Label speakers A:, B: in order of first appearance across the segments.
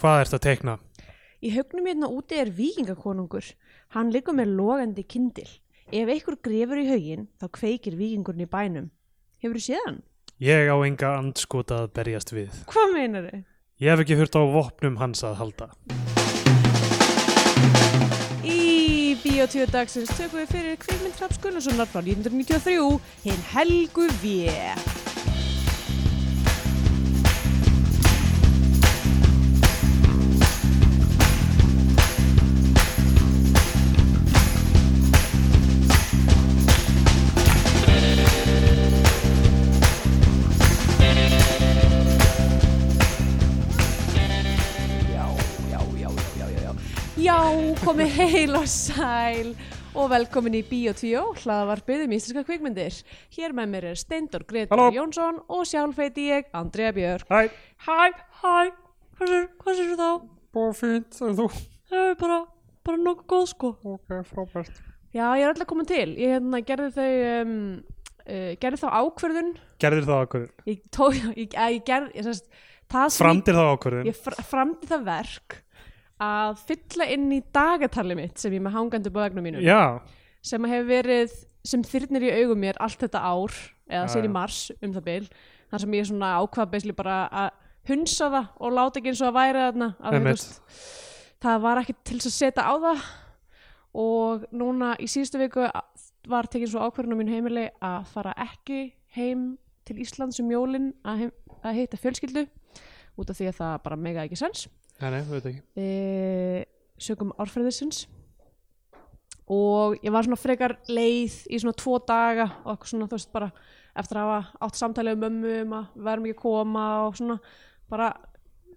A: Hvað ert að teikna?
B: Í haugnum hérna úti er vikingakonungur. Hann liggur með logandi kindil. Ef einhver grefur í haugin, þá kveikir vikingurinn í bænum. Hefur þú séð hann?
A: Ég á enga andskota að berjast við.
B: Hvað meinar þau?
A: Ég hef ekki hurt á vopnum hans að halda.
B: Í Bíotvíu dagsins tökum við fyrir kvikmynd Traps Gunnarssonar frá 1993, hinn Helgu V. Já, já, já, já, já, já. Já, komið heil og sæl og velkomin í Bíotvíu, hlaðavarpið um íslenska kvikmyndir. Hér með mér er Steindor Gretar
A: Halló.
B: Jónsson og sjálf heiti ég, Andrea Björk.
A: Hæ,
B: Hæ, hæ, hvað sér, hvað sér þá?
A: bó fínt, er þú?
B: Það er bara, bara nokkuð góð sko.
A: Ok, frábært.
B: Já, ég er alltaf komin til. Ég hérna, gerði þau, um, uh, gerði þá ákverðun.
A: Gerðir það ákvörðin?
B: Ég tók, ég, eh, ég gerði, ég sérst, það sem
A: Framdir það
B: ég,
A: ákvörðin?
B: ég fr framdi það verk að fylla inn í dagatali mitt sem ég er með hangandi upp á vegna mínum.
A: Já,
B: Sem hefur verið, sem þyrnir í augum mér allt þetta ár, eða
A: Já,
B: sér
A: já.
B: í mars um það bil. Þar sem ég svona ákvað beisli bara að hunsa það og láta ekki eins og að væri þarna. að þú
A: Einmitt.
B: veist, Það var ekki til þess að setja á það og núna í síðustu viku var tekin svo ákvörðun á mínu heimili að fara ekki heim til Íslands um jólin að, heim, að heita fjölskyldu út af því að það bara mega ekki sens
A: nei, nei, þú veit ekki.
B: e, sögum árfræðisins og ég var svona frekar leið í svona tvo daga og eitthvað svona þú veist bara eftir að hafa átt samtalið um mömmu um að við verðum ekki að koma og svona bara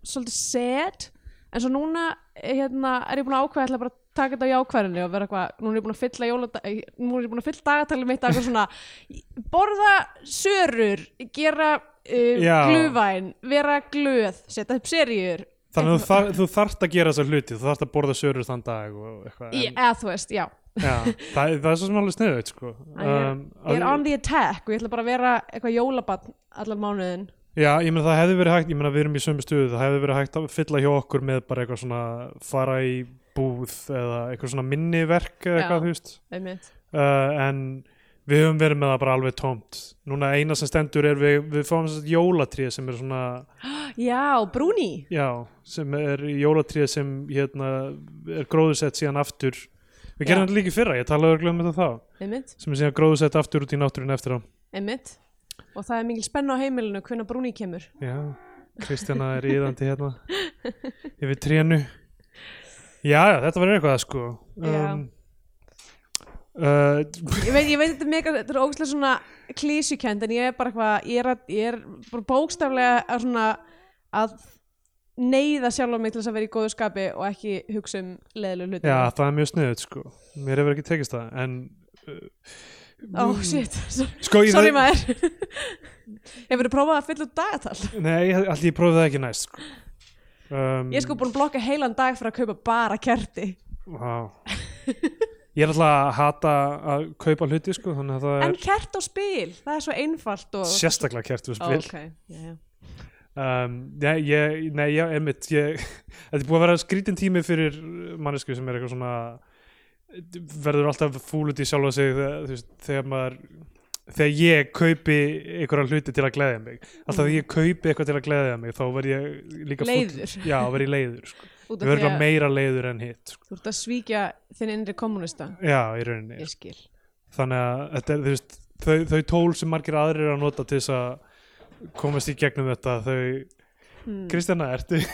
B: svolítið sad en svo núna eh, hérna, er ég búin að ákveða að ætla bara að taka þetta á jákvæðinni og vera eitthvað, núna er ég búin að fylla jólada, eh, núna er ég búin að fylla dagatalið mitt af eitthvað svona, borða sörur, gera uh,
A: Já.
B: glúvæn, vera glöð setja upp serjur
A: Þannig að þú, þar, þú þarft að gera þessar hluti, þú þarft að borða sörur þann dag og eitthvað.
B: Í- eða þú veist, já
A: Já, það, það er svo sem alveg sniðið, sko.
B: Æ, ég-
A: Um,
B: ég er
A: að-
B: on the attack og ég ætla bara að vera eitthvað jólabann allan mánuðin
A: Já, ég meina það hefði verið hægt, ég meina við erum í sömu stuðu, það hefði verið hægt að fylla hjá okkur með bara eitthvað svona fara í búð eða eitthvað svona minni verk eða
B: Já.
A: eitthvað, þú veist.
B: einmitt.
A: Uh, en við höfum verið með það bara alveg tómt. Núna eina sem stendur er við, við fáum þess að jólatrýja sem er svona,
B: já, brúni
A: já, sem er jólatrýja sem hérna er gróðusett síðan aftur. Við
B: Já.
A: gerðum þetta líka í fyrra, ég talaði örglega um þetta þá,
B: einmitt,
A: sem er síðan gróðusett aftur út í náttúrun eftir á.
B: einmitt og það er mikil spenna á heimilinu hvenna brúni kemur
A: Já, Kristjana er íðandi hérna yfir trénu Já, já, þetta var eitthvað sko
B: Já.
A: uh,
B: ég veit, ég veit þetta er mega, þetta er ógæslega svona klísukend en ég er bara eitthvað ég er, að, ég er bara bókstaflega að svona að neyða sjálf á mig til þess að vera í góðu skapi og ekki hugsa um leðlu hluti
A: Já, það er mjög sniðut sko Mér hefur ekki tekist það en,
B: oh shit, sorry,
A: sko, ég-
B: sorry maður hefur þú prófað að fylla út dagatal
A: Nei, allir ég prófið það ekki næst sko. um,
B: Ég er sko búin að blokka heilan dag fyrir að kaupa bara kerti
A: vá. Ég er alltaf að hata að kaupa hluti sko, þannig að það
B: En
A: er
B: kert á spil, það er svo einfalt og...
A: sérstaklega kert við
B: Ó,
A: spil
B: ok, já, já.
A: Um, nei, ég, nei, já, einmitt ég, Þetta er búið að vera skrítin tími fyrir mannesku sem er eitthvað svona verður alltaf fúl út í sjálfa sig þegar, þú veist, þegar maður þegar ég kaupi einhverja hluti til að gleðja mig alltaf
B: Mm.
A: þegar ég kaupi eitthvað til að gleðja mig þá verð ég líka
B: Leiður.
A: fúll Já, verð ég leiður sko. Ég
B: Út af
A: verð
B: því
A: eitthvað
B: að
A: meira leiður en hitt sko.
B: þú ert að svíkja þinn innri kommunista,
A: Já, í rauninni
B: ég skil.
A: þannig að þetta er þú veist, þau, þau tól sem margir aðrir eru að nota til þess að komast í gegnum þetta þau Kristjana, ertu ég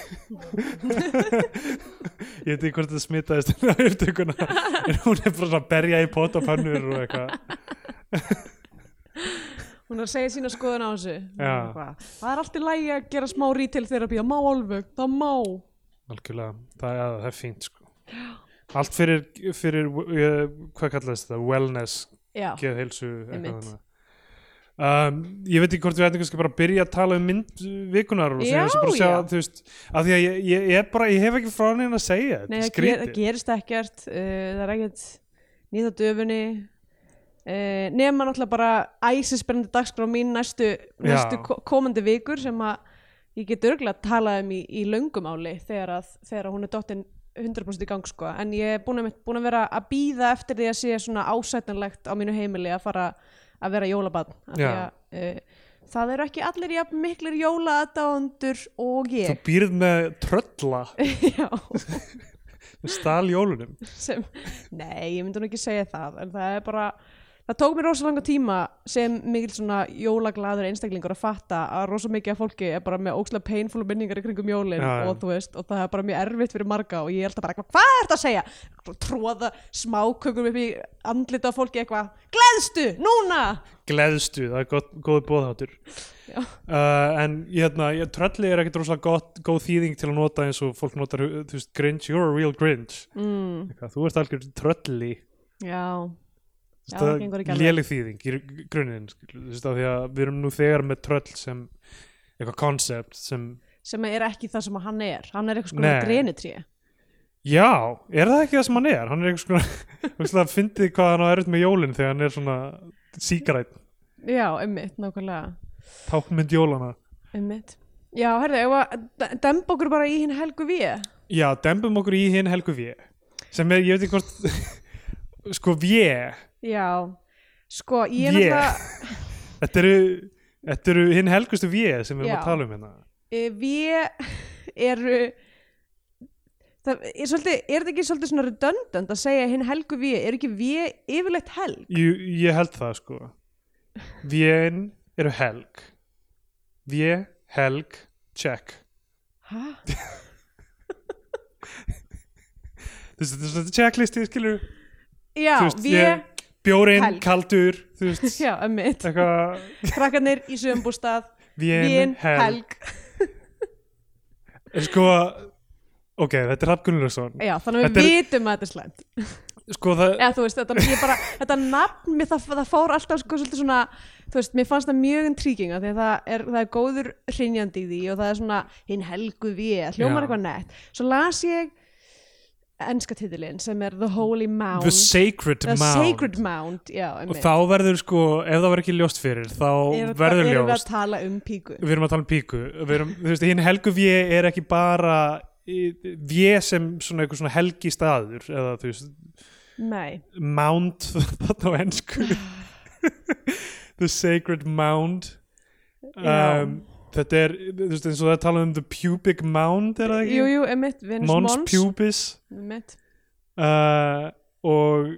A: veit ekki hvort þetta smitaðist en það upptökuna en hún er bara svona að berja í pot og pannur og eitthvað
B: Hún er að segja sína skoðun á þessu.
A: Já.
B: Eitthvað. Það er allt í lægi að gera smá retail þegar að býja má alveg, það má.
A: algjörlega, það, ja, það er fínt sko. allt fyrir, fyrir uh, hvað kallaðist þetta, wellness
B: Já,
A: geðheilsu eitthvað
B: Einmitt.
A: þannig. um, ég veit ekki hvort við ætlum kannski bara að byrja að tala um mynd vikunar og
B: Já,
A: þess bara að sjá,
B: já.
A: þú veist, af því að ég, ég, ég, er bara, ég hef ekki frá hann að segja þetta
B: nei,
A: er
B: það, ger,
A: skrítið.
B: það gerist ekkert, uh, það er ekkert nýða döfunni. Uh, nema náttúrulega bara æsispennandi dagskrá mín næstu,
A: Já.
B: næstu ko- komandi vikur sem að ég get örgulega að tala um í, í löngumáli þegar, að, þegar að hún er dottin 100% í gang sko en ég er búin að, búin að vera að býða eftir því að sé svona ásætanlegt á mínu heimili að fara að vera jólabann af því
A: Já.
B: að uh, það eru ekki allir jafn miklir jólaadáundur og
A: Þú
B: ég
A: býrð með trölla
B: Já,
A: stál jólunum
B: sem, nei, ég myndi nú ekki segja það en það er bara, það tók mér rosa langa tíma sem mikil svona jólaglaður einstaklingur að fatta að rosa mikið af fólki er bara með ókslega painful minningar í kringum jólin
A: Já, já.
B: og þú veist, og það er bara mjög erfitt fyrir marga og ég er alltaf bara, eitthvað, hvað er þetta að segja? Tróða smákökum upp í andlita á fólki eitthvað, gleðstu, núna!
A: gleðstu, það er gott, góð bóðháttur
B: Já.
A: uh, en ég, hérna, ég, trölli er ekkert rosalega gott, góð þýðing til að nota eins og fólk notar þú veist, Grinch, you're a real Grinch
B: Mm,
A: Eitthvað, þú ert algjör trölli
B: já, Já, það gengur ekki
A: þetta
B: alveg.
A: léleg þýðing í grunin þú veist, af því að við erum nú þegar með tröll sem eitthvað concept sem,
B: sem er ekki það sem hann er, hann er eitthvað sko
A: Nei.
B: skoðið grenitrí
A: já, er það ekki það sem hann er hann er eitthvað svona fyndið hvað hann á erut með jólin þegar hann er svona sígrætt,
B: Já, einmitt, nákvæmlega
A: tákmynd jólana
B: Einmitt. Já, herðu, ef að demba okkur bara í hinn helgu við.
A: já, dembum okkur í hinn Helgu V sem er, ég veit ekki hvort sko V,
B: Já, sko, ég er
A: Ég.
B: náttúrulega,
A: þetta eru þetta eru hinn helgustu V sem við erum
B: Já.
A: að tala um hérna
B: e, við eru, það er svolítið, er þetta ekki svolítið svona redundant að segja hinn helgu við, er ekki við yfirleitt helg?
A: ég, ég held það sko V-in eru helg V, helg, check
B: Hæ?
A: þú veist, þetta er svona checklisti, skilur
B: Já,
A: Þú veist,
B: við,
A: ég- bjórin,
B: Helg.
A: kaldur, þú veist
B: já, ömmit,
A: eitthvað,
B: krakkarnir í sögumbústað,
A: vin,
B: við,
A: helg
B: helg.
A: er sko, ok, þetta er Rapp Gunnlaugsson,
B: Já, þannig að
A: Þetta
B: við
A: er-
B: vitum að þetta er slæmt.
A: sko það
B: eða þú veist, þetta, ég bara, þetta nafn mér, það, það fór alltaf sko svolítið svona þú veist, mér fannst það mjög intriguing af því að það er, það er góður hrinjandi í því og það er svona hinn helgu við
A: Já.
B: hljómar eitthvað nett, svo las ég enska titilin sem er The Holy Mound
A: The Sacred
B: The
A: Mound
B: Sacred Mound, já,
A: og
B: einmitt.
A: þá verður sko, ef það var ekki ljóst fyrir þá
B: Erum-
A: verður
B: erum við
A: ljóst
B: að tala um píku
A: við erum að tala um píku við erum, þú veist, hinn helgu V er ekki bara V sem svona eitthvað svona helgi staður eða þú veist,
B: nei,
A: Mount þarna á ennsku The Sacred Mound
B: Já.
A: þetta er, þú veist, eins og það er talað um The Pubic Mound, er það ekki?
B: jú, jú, emitt Venus
A: Mons
B: Mons,
A: Pubis
B: emitt
A: uh, og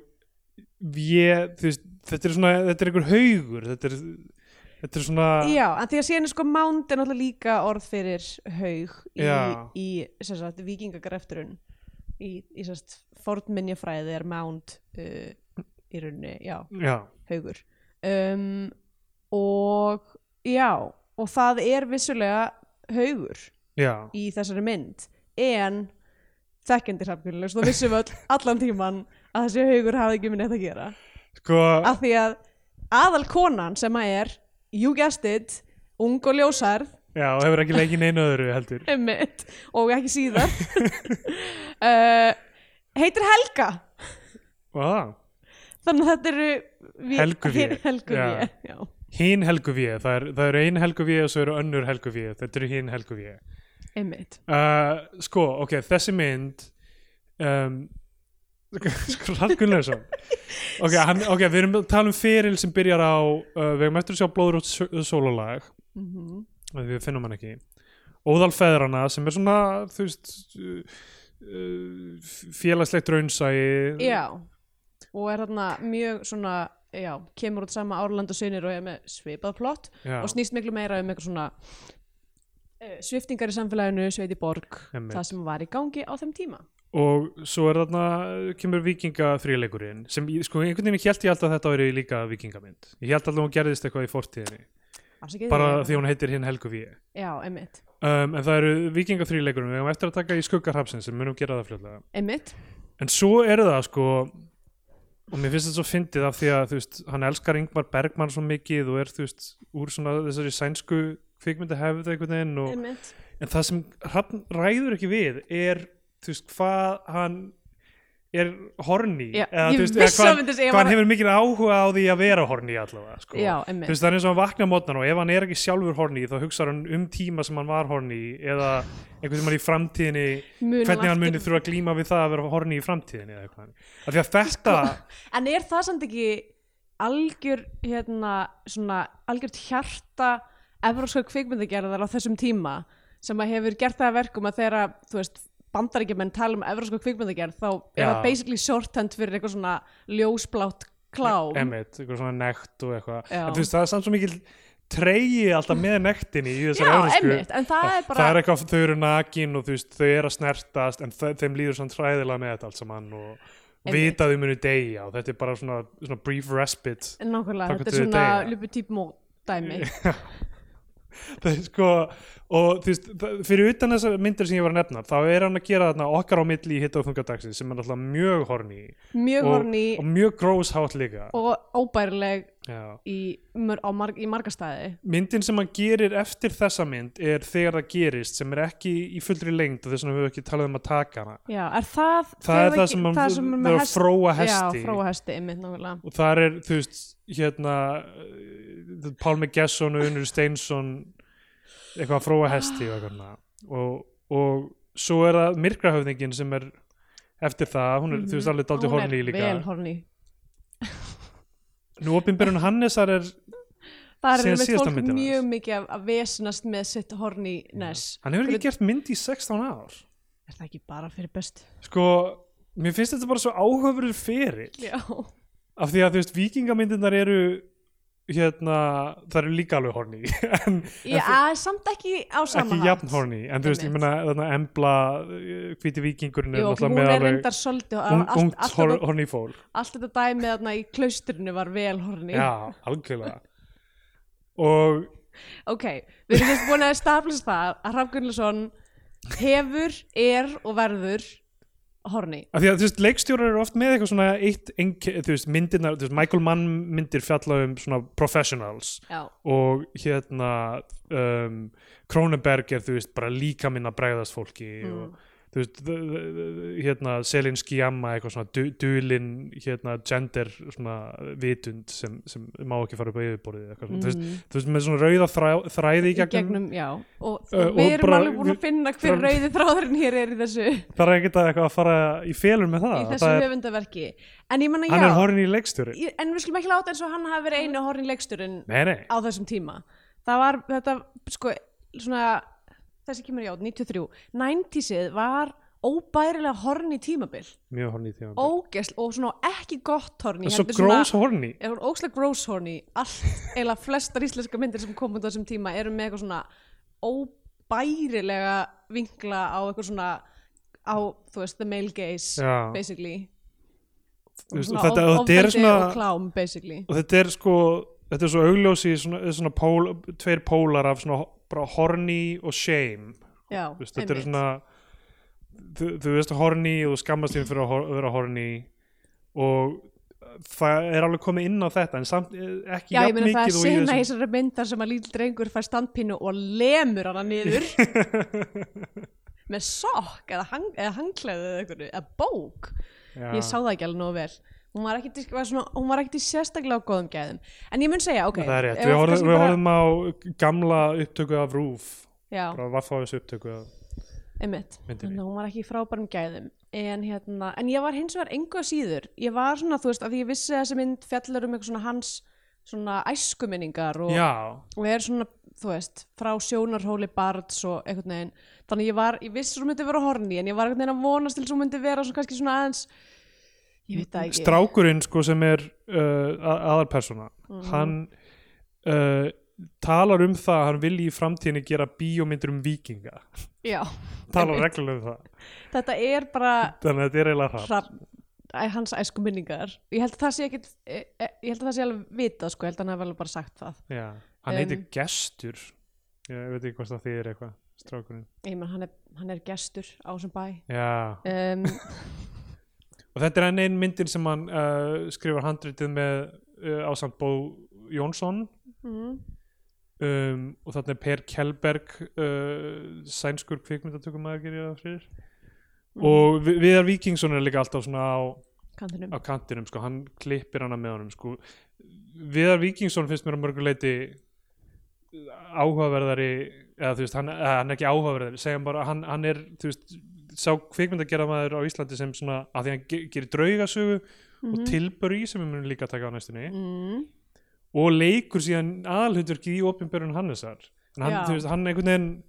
A: ég, þú veist, þetta er svona þetta er einhver haugur þetta er, þetta er svona
B: Já, en því að síðan er sko Mound er náttúrulega líka orð fyrir haug í,
A: Já.
B: í sem sagt, vikingagrefturun í, í sem sagt, fornminjafræði er Mound uh, í rauninni, já,
A: já,
B: haugur um, og já, og það er vissulega haugur
A: já.
B: í þessari mynd en þekkjandi hrafnkulilegs, þá vissum við öll allan tíman að þessi haugur hafði ekki minn eitt að gera
A: Sko,
B: af því að aðal konan sem að er you guessed it, ung og ljósarð
A: já, og hefur ekki leikin einu öðru heldur
B: einmitt, og ekki síðar uh, heitir Helga
A: wow.
B: þannig að þetta eru við-
A: Helgu
B: hér-
A: við.
B: Helgu
A: Já.
B: við, já.
A: hinn helgu við, það er, það er ein helgu við og svo eru önnur helgu við, þetta eru hinn helgu við
B: einmitt
A: Uh, sko, ok, þessi mynd um, sko, Ralf Gunnlaugsson okay, hann- ok, við erum að tala um feril sem byrjar á, uh, við erum eftir að sjá blóðrótt sólulag,
B: mm -hmm.
A: við finnum hann ekki Óðal feðrana sem er svona þú veist uh, uh, félagslegt raunsæi
B: já og er þarna mjög svona já, kemur út sama Árland og Sunir og er með svipað plott
A: Já,
B: og snýst miklu meira um eitthvað svona uh, sviftingar í samfélaginu, sveiti borg
A: Einmitt.
B: það sem var í gangi á þeim tíma
A: og svo er þarna kemur vikinga þrjuleikurinn sem ég- sko einhvern veginn hélt ég alltaf að þetta veri líka vikingamynd ég hélt alltaf að hún gerðist eitthvað í fortíðinni
B: Afsakið
A: bara
B: þig.
A: því hún heitir hinn Helgu Víi
B: já, einmitt,
A: um, en það eru vikinga þrjuleikurinn við hefum eftir að taka í skuggarhapsin sem munum gera það fljóðlega
B: einmitt
A: en svo er það sko og mér finnst þetta svo fyndið af því að þú veist, hann elskar Ingmar Bergman svo mikið og er þú veist úr svona þessari sænsku kvikmynda hefðu einhvern veginn og,
B: einmitt
A: en það sem hann ræður ekki við er þú veist hvað hann er horny
B: Já,
A: eða,
B: ég
A: þú veist,
B: vissi
A: eða
B: að myndi segja- ég
A: hvað
B: var-
A: hann hefur mikil áhuga á því að vera horny allavega sko.
B: Já,
A: þú
B: einmitt.
A: veist, það er eins og hann vakna mótnar og ef hann er ekki sjálfur horny þá hugsar hann um tíma sem hann var horny eða einhvern tímann í framtíðinni
B: Muna
A: hvernig hann
B: eftir-
A: muni þurfa að glíma við það að vera horny í framtíðinni eða eitthvað af því að þetta
B: En er það samt ekki algjör hérna, svona, algjört hjarta evróskar kvikmyndagerðar á þessum tíma sem að hefur gert það að verkum að þegar að, þú veist bandaríkjumenn tala um evróskar kvikmyndagerð þá
A: Já.
B: er það basically shorthand fyrir eitthvað svona ljósblátt klám
A: emitt, eitthvað svona nekt og eitthvað
B: Já.
A: en þú veist, það er samt svo mikil treyji alltaf með nektinni í
B: Já,
A: þessari evrósku
B: einmitt, en það er bara
A: það er eitthvað, þau eru nakin og þú veist, þau eru að snertast en þe þeim líður svona træðilega með þetta allt saman og
B: Einmitt.
A: vita að þau munu deyja og þetta er bara svona, svona brief respite
B: nákvæmlega,
A: Þangað
B: þetta er
A: til þau
B: svona
A: deyja.
B: luputípmó dæmi
A: það er sko, og þú veist það- fyrir utan þessar myndir sem ég var að nefna þá er hann að gera þarna okkar á milli í hitt og þungadagsins sem er alltaf mjög horny
B: mjög
A: og,
B: horni
A: og mjög gross hátt líka
B: og óbærileg
A: Já.
B: í, mör, á marg, í margastæði
A: myndin sem hann gerir eftir þessa mynd er þegar það gerist sem er ekki í fullri lengd og þess vegna höfum við ekki talað um að taka hana
B: Já, er það
A: það er
B: þegar
A: það sem
B: ge-
A: hann
B: það sem er með
A: er að
B: hest-
A: fróa hesti
B: Já, fróa hesti, einmitt nákvæmlega
A: og þar er, þú veist, hérna uh, Pálmi Gesson og Unur Steinsson eitthvað að fróa hesti og eitthvað svona. og, og svo er það myrkrahöfðingin sem er eftir það, hún er, þú veist, alveg dálítið horni líka
B: Vel horni
A: nú opinberun Hannesar er
B: Það er
A: Síðan
B: einmitt
A: síðasta
B: fólk
A: myndin
B: mjög
A: hans.
B: mikið að, að vesnast með sitt horni ness
A: hann hefur ekki gert mynd í 16 ár
B: Er það ekki bara fyrir best?
A: sko, mér finnst þetta bara svo áhöfurur fyrir
B: Já
A: af því að, þú veist, vikingamyndirnar eru hérna, það eru líka alveg horni en
B: Ég er samt ekki á sama
A: ekki jafn horny en þú veist, ég
B: Einmitt.
A: meina þarna embla uh, hvíti vikingurinn er
B: Jó,
A: náttúrulega
B: hún
A: með
B: er
A: alveg
B: reyndar svolítið og
A: ung-
B: allt-
A: ungt
B: allt
A: hor-
B: þetta-
A: horny fólk
B: Allt þetta dæmið þarna í klausturinu var vel horni
A: já, algjörlega og
B: Ok, við erum fyrst búin að staðflast það að Hrafn Gunnlaugsson hefur, er og verður horni
A: af því að þú veist, leikstjórar eru oft með eitthvað svona eitt, einke, þú veist, myndirnar þú veist, Michael Mann myndir fjalla um svona professionals
B: Já,
A: og hérna um, Cronenberg er, þú veist, bara líka minna bregðast fólki og þú veist, þ- þ- þ- hérna Selinski Jamma, eitthvað svona du, dulin hérna gender svona vitund sem, sem má ekki fara upp á yfirborðið eitthvað svona, þú veist, þú veist, með svona rauða þræ, þræði Mm. í
B: í
A: gegnum,
B: gegnum, já og
A: Ö, og
B: við erum
A: bara-
B: alveg búin að finna hver
A: Fram-
B: rauði þráðurinn hér er í þessu í
A: það er ekkert að eitthvað að fara í felur með það,
B: þessu
A: það er,
B: höfundaverki en ég menna
A: hann er
B: já,
A: horfinn í leikstjóri
B: ég- en við skulum ekki láta eins og hann hafi verið einu horfinn leiksturinn
A: nei, nei,
B: á þessum tíma það var þetta sko svona þessi kemur ég át, 93 90sið var óbærilega horni tímabil
A: mjög horfinn í tíma
B: ógesl og svona ekki gott horni
A: og svo grós horfinn
B: er hún ógslag gróshorni allt, eða flestar íslenska myndir sem kom út á þessum tíma eru með eitthvað svona óbærilega vinkla á eitthvað svona á, þú veist, the male gaze
A: Já.
B: basically
A: og
B: Svona
A: þetta,
B: of-
A: og þetta er
B: ofbeldi
A: svona
B: og klám, basically
A: og þetta er sko þetta er svo augljósi svona, þetta er svona pól, tveir pólar af svona ho- bara horny og shame
B: Já,
A: Þú veist, þetta er
B: einmitt.
A: svona þú, þú veist horny og þú skammast þín fyrir að hor- vera horny og það er alveg komið inn á þetta en samt eh, ekki
B: Já,
A: jafn
B: ég meina það er
A: mikið og í
B: sinna í
A: þessum
B: þessari myndar sem að lítil drengur fær standpínu og lemur hana niður með sokk eða, hang, eða hangklæði eða eitthvað, eða bók
A: Já.
B: ég sá það ekki alveg nógu vel hún var ekkit, í- var svona, hún var ekkit í sérstaklega á góðum gæðum en ég mun segja, ok
A: það er rétt,
B: ef
A: við
B: að
A: horfum,
B: kannski
A: við
B: bara-
A: horfum á gamla upptöku af Rúf
B: já,
A: bara vaffáðis upptöku af
B: einmitt,
A: myndinni.
B: þannig að hún var ekki í frábærum gæðum en hérna, en ég var hins vegar engu að síður, ég var svona, þú veist að því ég vissi að þessi mynd fjallar um eitthvað svona hans svona æskuminningar og,
A: já,
B: og er svona, þú veist, frá sjónarhóli barns og einhvern veginn þannig ég var, ég vissi svo myndi vera horni en ég var einhvern veginn að vonast til svo myndi vera svona, kannski svona aðeins ég veit það ekki
A: strákurinn sko sem er uh, aðalpersona
B: Mm.
A: hann uh, talar um það að hann vilji í framtíðinni gera bíómyndir um vikinga
B: já,
A: talar reglulega um það
B: þetta er bara
A: þannig að þetta er eiginlega hratt
B: hrafn æ, hans æsku minningar ég held að það sé ekkit e, e, ég held að það sé alveg vitað sko, ég held að hann hafi alveg bara sagt það
A: Já. hann
B: Um,
A: heitir Gestur ég veit ekki hvort það þýðir eitthvað strákurinn
B: ég menn hann er, hann er gestur á sem bæ
A: Já.
B: um,
A: og þetta er enn einn myndin sem hann uh, skrifar handritið með uh, ásamt Bó Jónsson
B: mm,
A: um, og þarna er Per Kjellberg uh, sænskur kvikmyndatökumæður gerir það fyrir
B: Mm.
A: og Vi- Viðar Víkingsson er líka alltaf svona á,
B: kantinum
A: á kantinum sko, hann klippir hana með honum sko. Viðar Víkingsson finnst mér að mörgu leiti áhugaverðari eða þú veist, hann, eða, hann er ekki áhugaverðari segjum bara, hann, hann er þú veist, sá kvikmyndagerðamaður á Íslandi sem svona, að því hann ge- gerir draugasögu
B: Mhm.
A: og tilböri sem við munum líka að taka á næstunni
B: mm.
A: og leikur síðan aðalhundurki í opinberun Hannesar en hann,
B: Já.
A: þú veist, hann einhvern veginn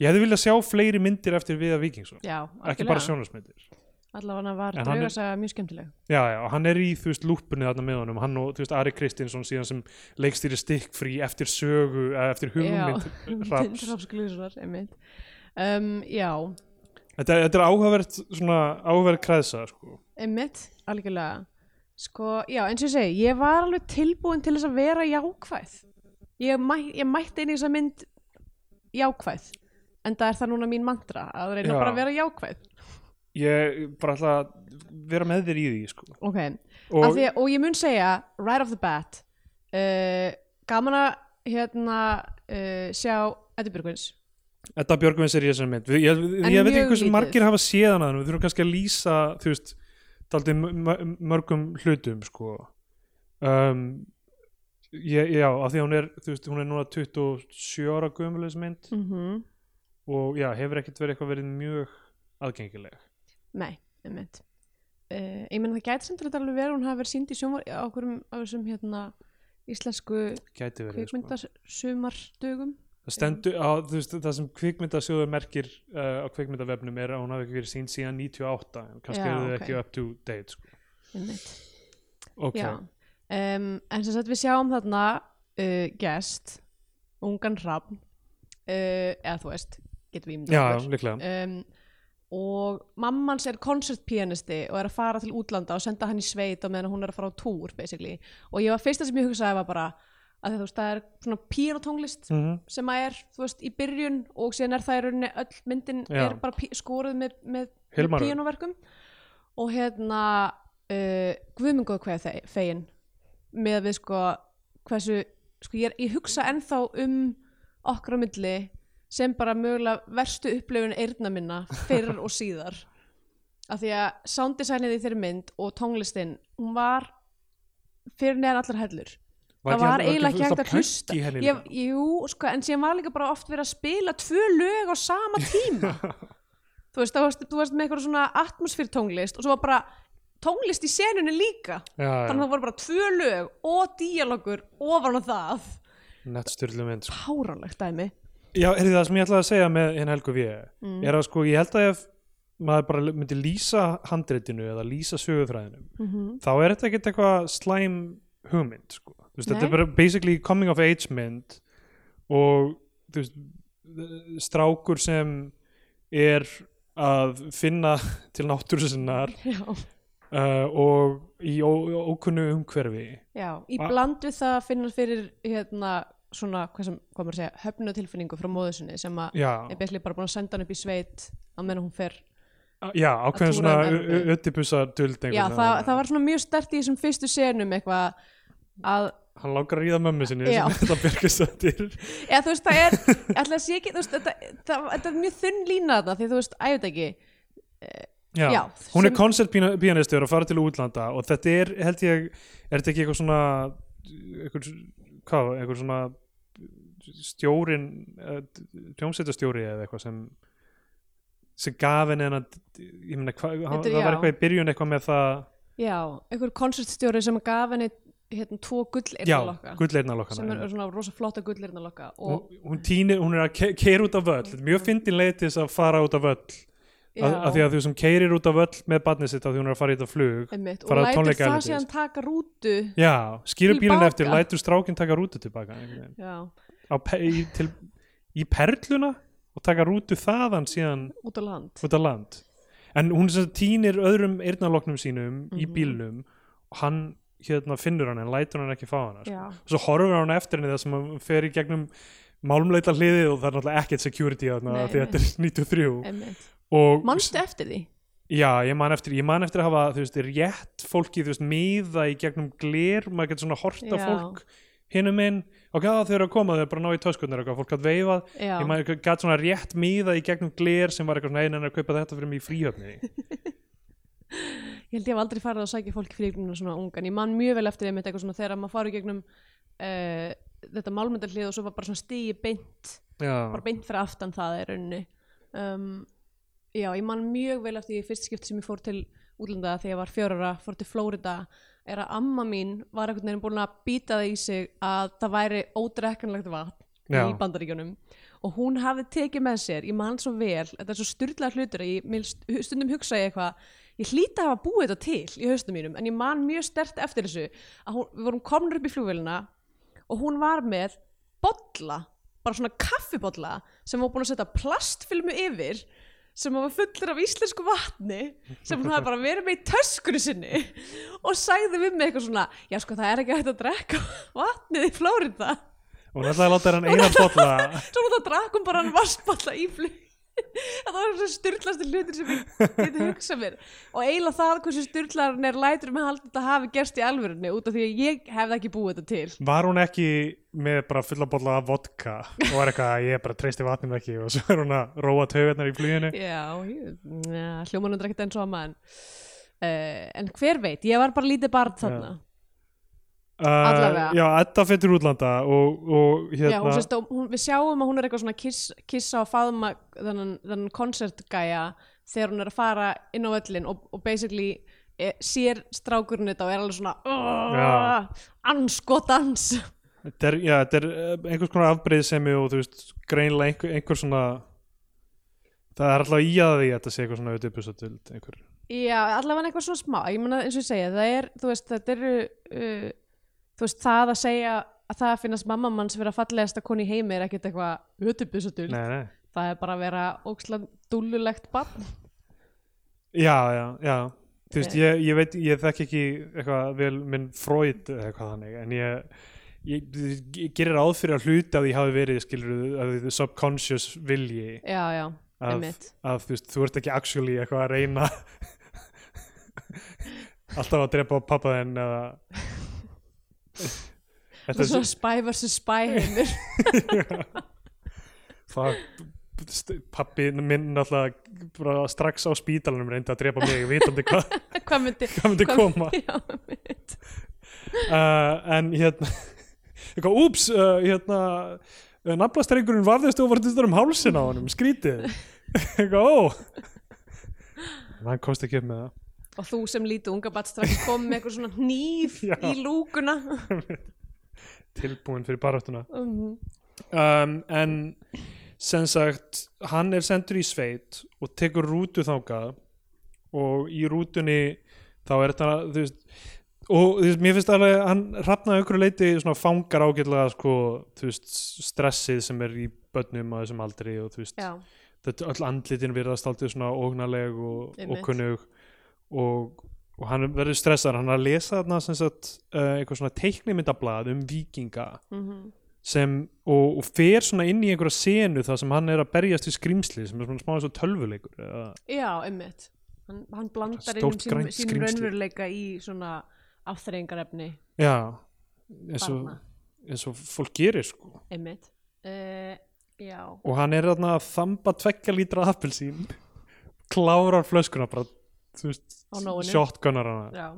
A: ég hefði viljað sjá fleiri myndir eftir Viðar Víkingsson
B: já,
A: ekki bara sjónarsmyndir
B: allavega var
A: En hann er-
B: draugasaga mjög skemmtileg
A: Já, já, og hann er í, þú veist, lúpunni þarna með honum, hann og, þú veist, Ari Kristinsson síðan sem leikstýri stikkfrí eftir sögu, eða eftir hugmynd Hrafns.
B: Um,
A: Þetta, þetta er áhugavert, svona, áhugavert kreðsa, sko.
B: einmitt, algjörlega sko, já, eins og ég segi, ég var alveg tilbúin til þess að vera jákvæð ég, mæ, ég mætti inn í þess að mynd jákvæð en það er það núna mín mantra að reyna
A: Já.
B: bara að vera jákvæð
A: Ég bara ætla að vera með þér í því, sko.
B: ok, og,
A: Og,
B: því, að- og ég mun segja right off the bat uh, gaman að hérna uh, sjá Eddi Björgvins
A: Edda Björgvins er í þessari mynd. Við- Ég, ég,
B: En
A: ég veit
B: mjög
A: ekki hversu
B: lítið.
A: margir hafa séð hana, en við þurfum kannski að lýsa, þú veist, daldið mörgum hlutum, sko. Um, ég, já, af því að hún er, þú veist, hún er núna 27 ára gömulegis mynd
B: mm -hmm.
A: og já, hefur ekkert verið eitthvað verið mjög aðgengileg.
B: nei, einmitt uh, ég menn það gæti sem til þetta alveg verið hún hafi verið sínd í sjónvar á okkurum af þessum hérna íslensku
A: Gæti verið, sko.
B: kvikmyndasumardögum
A: Það stendur, á, þú veist, það sem kvikmyndasjóður merkir uh, á kvikmyndavefnum er að hún hafi ekki verið sín síðan 98, en kannski
B: Já,
A: eru þau
B: ok.
A: ekki up to date, sko.
B: einmitt,
A: Ok,
B: já um, en sem sagt við sjáum þarna uh, gest, ungan hrafn uh, eða þú veist getum við
A: já,
B: ímyndað okkur.
A: líklega.
B: um, og mammans er koncertpianisti og er að fara til útlanda og senda hann í sveit og meðan hún er að fara á túr basically og ég var fyrsta sem ég hugsaði var bara að þú veist það er svona píanotónglist
A: Mm
B: sem að er þú veist í byrjun og síðan er það í rauninni öll myndin
A: Já.
B: er bara pí, skoruð með, með, með
A: Hilmar Örn.
B: píanoverkum og hérna uh, guðmingu hvað er fegin með við sko hversu sko ég, er, ég hugsa ennþá um okkar á milli sem bara mögulega verstu upplifun eyrna minna fyrr og síðar af því að sounddesignið í þeirri mynd og tónlistin, hún var fyrir neðan allar hellur það var eiginlega ekki hægt að hlusta ég,
A: hlusta.
B: jú, sko, en síðan var líka bara oft verið að spila tvö lög á sama tíma þú veist, það varst, þú varst með eitthvað svona atmosfýrtónglist og svo var bara tónlist í senunni líka þannig að
A: Já,
B: það voru bara tvö lög og díalogur ofan á það
A: nettsturlu mynd, sko.
B: páralegt dæmi Mm.
A: Já, er það sem ég ætlaði að segja með henn Helgu V. Er að, sko, ég held að ef maður bara myndi lýsa handreitinu eða lýsa sögufræðinu,
B: mm
A: þá er þetta ekkert eitthvað slæm hugmynd sko. Þú veist, þetta
B: Nei.
A: er bara basically coming of age mynd og þú veist, strákur sem er að finna til náttúru sinnar
B: já,
A: uh, og í ó- ókunnu umhverfi
B: já, í
A: Va-
B: bland við það finnur fyrir hérna svona, hvað sem, hvað maður að segja, höfnutilfinningu frá móðusinni sem að
A: já,
B: er byrjli bara búin að senda hann upp í sveit á meðan hún fer
A: já ákveðin
B: túra
A: svona
B: um Evrópu.
A: öttipusa duld
B: Já, það, það var svona mjög stert í þessum fyrstu senum eitthvað að,
A: hann langar að ríða mömmu sinni
B: Já.
A: sem þetta byrgist að til
B: eða þú veist, það er ætla að sé ekki, þú veist, þetta, það, þetta er mjög þunn lína þarna, því þú veist, að ég veit ekki
A: Já,
B: Já,
A: hún er
B: sem-
A: koncertpianistur og fara til útlanda og þetta er, held ég, er þetta ekki eitthvað svona eitthvað, hvað, eitthvað svona stjórin tjómsættastjóri eða eitthvað sem sem gaf henni hennar ég meina, hva, hann,
B: Þetta-
A: það var
B: já.
A: eitthvað í byrjun eitthvað með það
B: Já, einhver koncertstjóri sem gaf henni hérna tvo
A: já,
B: gullirnalokka sem
A: gullleirnalokkana
B: er svona rosa flotta gullirnalokka og
A: hún týnir, hún er að keira út af völl Þetta er mjög fyndin leið til þess að fara út af völl
B: já,
A: að, að því að þú sem keirir út af völl með barnið sitt að því hún er að fara í þetta flug
B: einmitt, og
A: fara á
B: lætur
A: tónleika
B: það
A: erlendis.
B: síðan taka rútu
A: Já, skýra bílinn
B: Tilbaka.
A: eftir, lætur strákinn taka rútu tilbaka einhvern veginn.
B: Já,
A: Á pe- í, til, í perluna og taka rútu þaðan síðan
B: út á land
A: út á land en hún sem sagt tínir öðrum eyrnaloknum sínum í
B: Mhm.
A: bílnum og hann hérna finnur hann en lætur hann ekki fá hann
B: Já,
A: og svo horfir hann á eftir henni það sem hann fer í gegnum málumleita hliðið og það er náttúrulega ekkert security þarna
B: Nei,
A: af því
B: nei.
A: þetta er 93
B: einmitt
A: og
B: Manstu eftir því?
A: Já, ég man eftir, ég man eftir að hafa þú veist, rétt fólki, þú veist, miða í gegnum gler, maður getur svona horta
B: Já.
A: fólk hinum inn ok, það þau eru að koma, þau eru bara að ná í töskunar eitthvað, fólk hatt veifað,
B: já,
A: ég maður gætt svona rétt miða í gegnum gler sem var eitthvað svona einan að kaupa þetta fyrir mig í fríhöfninni
B: ég held ég haf aldrei farið að sækja fólk fyrir gegnum svona ungan, ég man mjög vel eftir þeim eitthvað svona þegar maður farið gegnum uh, þetta málmyndarhlið og svo var bara svona stigi beint,
A: já,
B: bara beint fyrir aftan það er rauninni um, já, ég man mjög vel eftir því fyrst skipti sem ég fór til útlanda þegar ég var fjörara, fór til Flórida er að amma mín var einhvern veginn búin að býta það í sig að það væri ódrekkanlegt vatn
A: Já.
B: í bandaríkjunum og hún hafði tekið með sér, ég man svo vel þetta er svo styrlað hlutur að ég mér st- stundum hugsa ég eitthvað ég hlýta að hafa búið þetta til í haustum mínum en ég man mjög stert eftir þessu að hún, við vorum komin upp í flugvélina og hún var með bolla bara svona kaffibolla sem var búin að setja plastfilmu yfir sem var fullur af íslensku vatni sem hún hafði bara verið með í töskunni sinni og sagði við mig eitthvað svona já sko það er ekki hægt að drekka vatnið í Flórida
A: og hún ætlaði að láta hann einan bolla
B: svo náttúrulega drakk hún bara hann vassballa í flug það var þessi styrlasti hlutur sem ég geti hugsað mér og eiginlega það hversu styrlarinn er lætur með að þetta hafi gerst í alvörunni út af því að ég hefði ekki búið þetta til
A: var hún ekki með bara fulla bolla af vodka og var eitthvað, ég bara treysti vatnum ekki og svo er hún að róa töfurnar í fluginu
B: Já, ég- ja, hljómanum drekkt eins og amma en, uh, en hver veit, ég var bara lítið barn þarna
A: uh,
B: Allavega.
A: já, Edda fyrir útlanda og, og
B: Já, hún,
A: hérna
B: sérst, og hún, við sjáum að hún er eitthvað svona kiss, kissa og faðma þennan, þennan konsertgæja þegar hún er að fara inn á öllin og, og basically e, sér strákurinn þetta og er alveg svona
A: Já.
B: anskotans
A: þetta er, já, þetta er eh, einhvers konar afbreyðsemi og þú veist, greinilega einhver, einhver svona það er alltaf í að því að þetta sé eitthvað svona auðvitað bussatild einhver
B: Já, allavega eitthvað svona smá ég meina eins og ég segja, það er, þú veist, þetta eru uh, þú veist, það að segja að það að finnast mamma manns vera fallegasta koni í heimi er ekkert eitthvað hötubusatul
A: nei, nei.
B: það er bara að vera óksla dúllulegt barn
A: já, já, já þú veist, ég, ég veit, ég þekk ekki eitthvað vel minn Freud eða eitthvað þannig en ég, ég, ég, ég gerir ráð fyrir að hluti að því hafi verið skilur, að því subconscious vilji
B: Já, já,
A: að,
B: einmitt
A: að þú veist, þú ert ekki actually eitthvað að reyna alltaf að drepa pappa þinn eða Þetta
B: Þetta er svona spy vs spy heimur
A: það st- pabbi minn náttúrulega bara strax á spítalunum reyndi að drepa mig vitandi hvað
B: Hvað myndi
A: hva myndi
B: hvað-
A: koma
B: Já, einmitt
A: uh, en hérna eitthvað, úps, uh, hérna uh, nafnastreikurinn varðist og varðist um hálsin á honum, skrítið eitthvað, ó en hann komst ekki upp með það
B: Og þú sem lítið unga barn strax kom með eitthvað svona hníf
A: Já.
B: í lúkuna
A: tilbúin fyrir baráttuna
B: um,
A: um, en sem sagt, hann er sendur í sveit og tekur rútu þangað og í rútunni þá er þetta, þú veist og þú veist, mér finnst alveg, hann hrafnaði einhverju leiti svona fangar ágætlega sko, þú veist, stressið sem er í börnum á þessum aldri og þú veist
B: Já,
A: þetta öll andlitin virðast aldrei svona ógnaleg og,
B: Einmitt.
A: og kunnug og, og hann verður stressar hann er að lesa þarna sem sagt uh, eitthvað svona teiknimyndablað um vikinga
B: mhm
A: sem, og, og fer svona inn í einhverja senu þar sem hann er að berjast í skrimsli sem er svona smá eins og tölvuleikur eða,
B: Já, einmitt Hann, hann blandar inn
A: Stórt
B: sín,
A: grænt
B: sín
A: skrímsli.
B: raunveruleika í svona afþreyingarefni
A: já, eins og,
B: barna,
A: eins og fólk gerir sko
B: einmitt uh, Já,
A: og hann er þarna að þamba tveggja lítra appelsín klárar flöskuna bara, þú veist,
B: Á nóinu.
A: shotgunnar hana
B: já,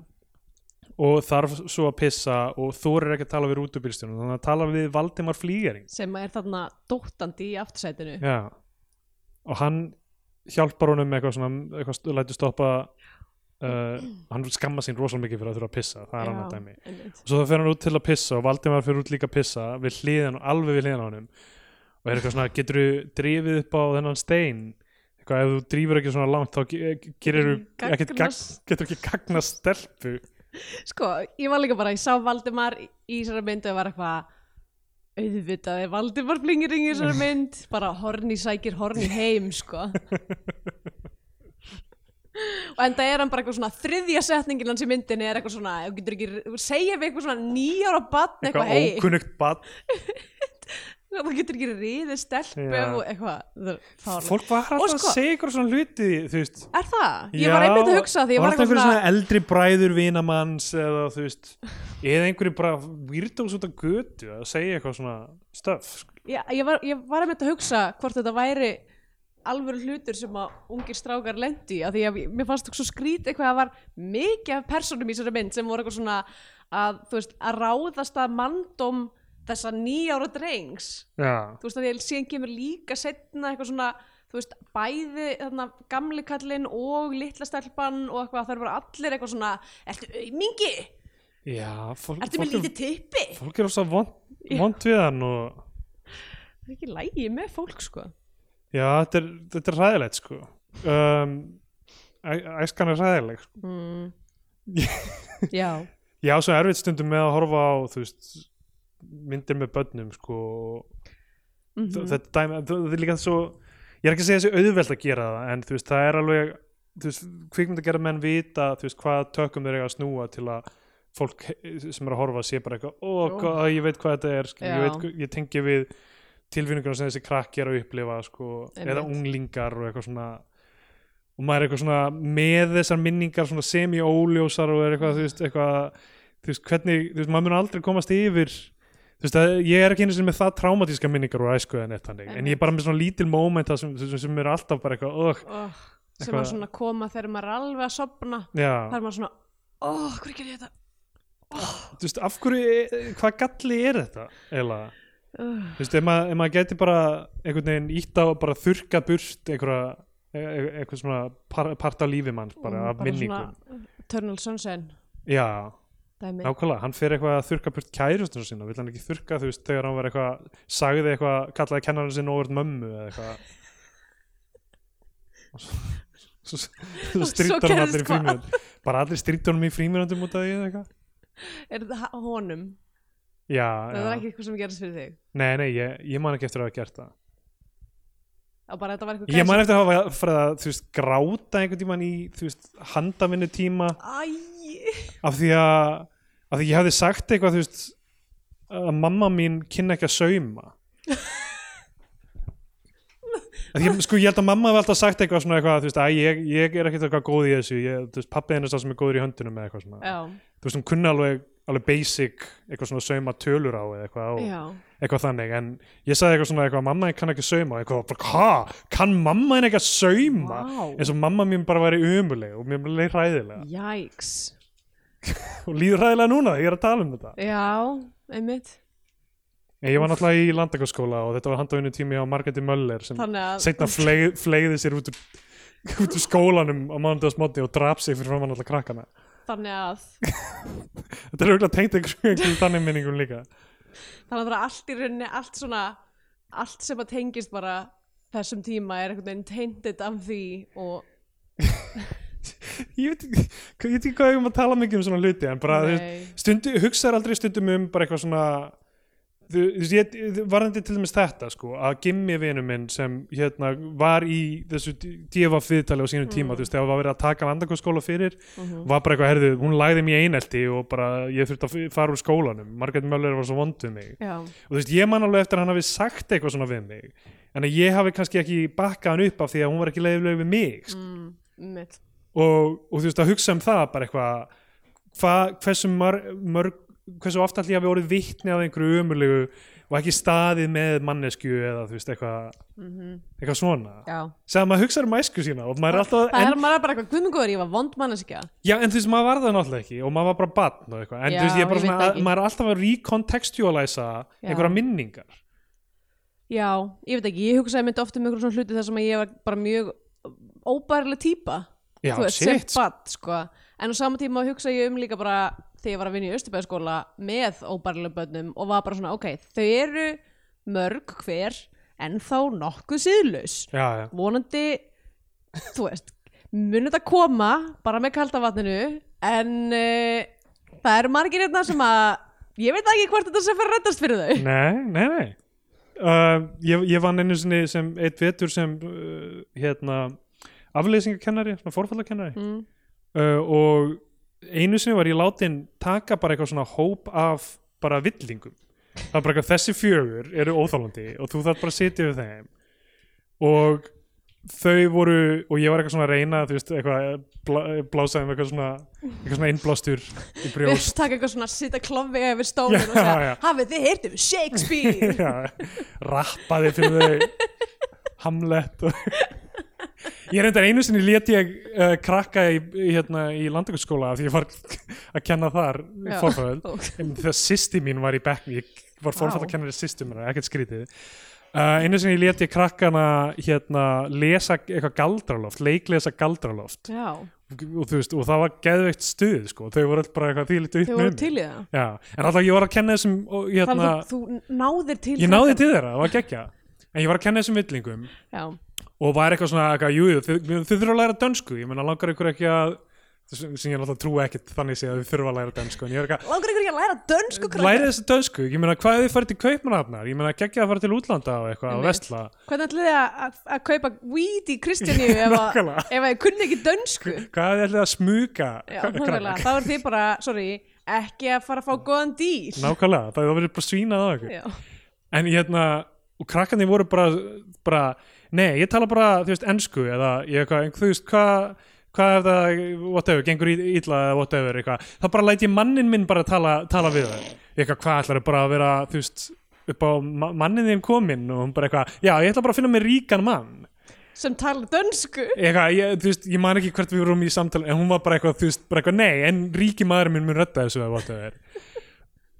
A: og þarf svo að pissa og þorir ekki að tala við rútubílstjónum þannig að tala við Valdimar Flýgering
B: sem er þarna dóttandi í aftursætinu
A: Já. og hann hjálpar honum með eitthvað svona eitthvað st- lætur stoppa uh, hann skamma sín rosalega mikið fyrir að þurfa að pissa það er
B: já,
A: annar dæmi
B: einmitt.
A: og svo það fer hann út til að pissa og Valdimar fer út líka að pissa við hliðan og alveg við hliðan á honum og er eitthvað svona, getur þú drifið upp á þennan stein eitthvað, ef þú drífur ekki svona langt þá ge- ge- gerir þú ekkert gagn,
B: Gagnast-
A: getur ekki gagnast stelpu
B: Sko, ég var líka bara, ég sá Valdimar í í þessari mynd og var eitthvað auðvitað er Valdimar blingirinn í þessari mynd bara horni sækir horni heim sko og enda er hann bara eitthvað svona þriðja setningin hans í myndinni er eitthvað svona þú getur ekki, segja við eitthvað svona nýjára batn eitthvað,
A: eitthvað
B: hei
A: ókunnugt bad
B: það getur ekki riðið stelpum
A: Já.
B: og eitthvað það er fáránlegt.
A: fólk var
B: Og
A: alltaf
B: sko-
A: að segja ykkur svona hluti þú veist
B: er það? ég var einmitt að hugsa því ég
A: var
B: var
A: alltaf
B: eitthvað
A: einhverju
B: svona,
A: svona eldri bræður vinamanns eða þú veist eða einhverju bara výrdós út af götu að segja eitthvað svona sko? stöf
B: ég, ég, var, ég var einmitt að hugsa hvort þetta væri alvöru hlutur sem að ungir strákar lendi af því að ég- mér fannst þú svo skrít eitthvað að það var mikið af personum í þessari mynd sem voru eitthvað svona að, þú veist, að ráðast að mandóm þessa nýjára drengs
A: já,
B: þú veist að ég síðan kemur líka setna eitthvað svona, þú veist, bæði þarna, gamli kallinn og litla stelpan og eitthvað, það eru bara allir eitthvað svona ertu aumingi,
A: já fólk,
B: ertu með
A: fólk,
B: lítið tippi
A: er, fólk er ósað vond,
B: Já.
A: vond við hann og
B: það er ekki lægi með fólk sko
A: já, þetta er, þetta er ræðilegt sko um, æ- æskan er ræðileg sko.
B: mm. já,
A: ég á svo erfitt stundum með að horfa á þú veist myndir með börnum sko og
B: mm
A: mm. þetta dæmi, þ- þetta er líka svo ég er ekki að segja þessi auðvelt að gera það en þú veist, það er alveg þú veist, kvikmynd að gera menn vita þú veist, hvað tökum þeir eiga að snúa til að fólk he- sem er að horfa sé bara eitthvað, ó,
B: Jú.
A: oh, ég veit hvað þetta er skil,
B: Já.
A: ég, veit, hva- ég tengi við tilfinninguna sem þessi krakki er að upplifa sko, eða
B: Einmitt.
A: unglingar og eitthvað svona og maður er eitthvað svona með þessar minningar svona semi-óljósar og er eitthvað, þú veist, eitthvað þú veist, hvernig, þú veist, maður mun aldrei komast yfir þú veist, að ég er ekki einu sinni með það traumatíska minningar úr æsku en eitt þannig en ég er bara með svona lítil mómenta sem, sem, sem er alltaf bara eitthvað, ögh,
B: oh, sem
A: Eitthvað-
B: að svona koma þegar maður er alveg að sopna það
A: já
B: er maður svona, óh, oh, hverju gerir ég þetta
A: þú veist, af hverju, hvað galli er þetta eiginlega,
B: uh,
A: þú veist, ef maður, ef maður geti bara einhvern veginn ítt á að bara þurka burt einhverja, e- e- eitthvað svona par, part af lífi manns bara,
B: Mm,
A: af minningum
B: Eternal Sunshine
A: já,
B: dæmi
A: Nákvæmlega, hann fer eitthvað að þurka burt kærustunum sína, vill hann ekki þurka þú veist þegar hann var eitthvað, sagði eitthvað kallaði kennarinn sinna óvert mömmu eða eitthvað og svo, svo, svo
B: Og svo
A: strýttur hann
B: gerðist
A: allir í
B: hvað?
A: frímjörnd bara allir strýttur hann í frímjörndum út af því eða eitthvað
B: er það ha- honum,
A: Já,
B: það er
A: já,
B: ekki eitthvað sem gerist fyrir þig
A: nei, nei, ég, ég man ekki eftir að hafa gert það
B: og bara þetta var eitthvað
A: Ég man eftir að hafa farið að, þú veist, gráta einhvern tíman í, þú veist, handavinnu tíma
B: Æ,
A: af því að, af því ég hefði sagt eitthvað, þú veist, að mamma mín kynna ekki að sauma Af því, sko, ég held að mamma hefði alltaf sagt eitthvað svona eitthvað, þú veist, að ég, ég er ekkert eitthvað góð í þessu, ég, þú veist, pappi henni er það sem er góður í höndunum eða eitthvað svona,
B: já,
A: þú veist, hún kunna alveg, alveg basic, eitthvað svona sauma tölur á eða eitthvað, á,
B: já
A: eitthvað þannig en ég sagði eitthvað svona, eitthvað, mamma þín kann ekki að sauma og eitthvað, bara, hæ, kann mamma henni ekki að sauma
B: Vá.
A: eins og mamma mín bara væri umuleg og mér leið ræðilega
B: Jæks
A: og líður ræðilega núna, ég er að tala um þetta
B: Já, einmitt
A: En ég var náttúrulega í landakaskóla og þetta var handafinu tími á Margeti Möller sem
B: Þannig að-
A: setna fleið, fleiði sér út úr, út úr skólanum á mánudagsmóti og draf sig fyrir framann alltaf krakkana.
B: Þannig að
A: Þetta er auðvitað tengt einhverjum einhverjum þannig minningum líka.
B: Þannig að það er allt í rauninni Allt svona Allt sem að tengist bara Þessum tíma er einhvern veginn teindit af því Og
A: Ég veit, ekki- ég veit ekki hvað við erum að tala mikið um svona hluti en bara þú veist,
B: Nei.
A: stundu, hugsaðar aldrei stundum um bara eitthvað svona þú þú veist, ég- ég- varðandi til dæmis þetta sko, að gimmi vinu minn sem hérna var í þessu dífa fyrirtali á sínum tíma, þú veist, þegar var verið að taka landakoskóla fyrir, var bara eitthvað herðu, hún lagði mig í einelti og bara ég þurfti að f- fara úr skólanum, Margrét Möller var svo vond við mig
B: Já,
A: og þú veist, ég man alveg eftir að hann hafi sagt eitthvað svona við mig, en að ég hafi kannski ekki bakkað hann upp af því að hún var ekki leiðileg við mig, sko
B: mm, einmitt
A: og, og þú veist að hugsa um það bara eitthvað hva, hversu mörg, mörg hversu oft allir ég hafi orðið vitni af einhverju umurlegu og ekki staðið með mannesku eða þú veist eitthvað
B: Mhm.
A: eitthvað svona
B: Já
A: sem að maður hugsa um æsku sína og maður er alltaf
B: Það
A: en,
B: er maður er bara eitthvað guðmungur, ég var vond manneskja
A: já, en þú veist maður var það náttúrulega ekki og maður var bara barn og eitthvað en
B: Já,
A: þú veist ég er
B: ég
A: bara
B: veit
A: svona
B: það
A: að,
B: ekki.
A: maður er alltaf að recontextualæsa
B: Já.
A: einhverja minningar
B: Já, ég veit ekki, ég hugsaði mynd oft um einhverjum svona hluti þar sem að ég var bara mjög óbærileg típa
A: já,
B: þú veist,
A: shit,
B: sem badd sko. en á sama tíma hugsa ég um líka bara þegar ég var að vinna í Östubæðskóla með óbærilega börnum og var bara svona ok, þau eru mörg hver en þá nokkuð síðlaus
A: já, já,
B: vonandi, þú veist munið þetta koma bara með kalda vatninu en uh, það eru margir hérna sem að ég veit ekki hvort þetta sem fyrir að reddast fyrir þau
A: Nei, nei, nei uh, ég, ég vann einu sinni sem eitt vetur sem uh, hérna afleysingakennari, svona forfallakennari
B: mm.
A: uh, og einu sinni var ég látin taka bara eitthvað svona hóp af bara villingum það er bara eitthvað þessi fjögur eru óþálandi og þú þarf bara að sitja við þeim og þau voru og ég var eitthvað svona að reyna þú veist, eitthvað eh, blá, blásaðum eitthvað svona eitthvað svona innblástur í brjóst
B: Takk eitthvað svona að sita klofið yfir stólinn
A: Já,
B: og segja,
A: já.
B: hafið þið heyrt um Shakespeare
A: Já, rappaði fyrir þau Hamlet og ég reyndar einu sinni lét ég uh, krakka í, í, hérna, í landingarskóla því ég var að kenna þar
B: Já.
A: forföld
B: Ó,
A: Einmitt þegar sýsti mín var í bekkni ég var
B: Vá.
A: fórfætt að kenna þér sýsti mín ekkert skrítið uh, einu sinni lét ég krakkana hérna, lesa eitthvað galdraloft leiklesa galdraloft
B: Já,
A: og, þú veist, og það var geðveikt stuð sko. þau voru alltaf bara eitthvað þýlitt
B: þau voru til í það
A: Já, en alltaf ég var að kenna þessum og,
B: Þannig
A: hérna,
B: að þú, þú náðir til
A: ég náði til þeirra, það var geggja en ég var að kenna þessum villingum
B: Já,
A: og var eitthvað svona, eitthvað, jú, jú, þið, þið þurfa að læra dönsku ég menna langar ykkur ekki að sem sem ég náttúrulega trú ekkit þannig sé að þið þurfa að læra dönsku en ég er eitthvað,
B: langar ykkur ekki að læra dönsku krakkar
A: læra þessu dönsku, ég meina hvað ef þið farið til kaupmannafnar, ég meina geggja að fara til útlanda og eitthvað að
B: Einmitt.
A: vestla
B: Hvernig ætlið þið að- að- að kaupa weed í Kristjaníu ef að
A: Nákvæmlega.
B: ef að þið kunni ekki dönsku
A: hvað ef þið ætlið að smuga
B: Já,
A: krakka?
B: nákvæmlega, þá er þið bara, sorry, ekki að fara að fá góðan díl
A: nákvæmlega, það verður bara svínað á ykkur
B: Já,
A: en hérna, og krakkandi voru bara, bara nei, ég tala bara, þú veist, ensku eða ég eitthvað, en þú veist, hvað hvað ef það, whatever, gengur í- illa eða whatever, eitthvað, þá bara læt ég mannin minn bara tala, tala við það, eitthvað hvað ætlar bara að vera, þú veist upp á ma- mannin þeim kominn og hún bara eitthvað já, ég ætla bara að finna mér ríkan mann
B: sem tala dönsku
A: eitthvað, ég, þú veist, ég man ekki hvert við vorum í samtali en hún var bara eitthvað, þú veist, bara eitthvað nei en ríki maður minn mun rötta þessu eða whatever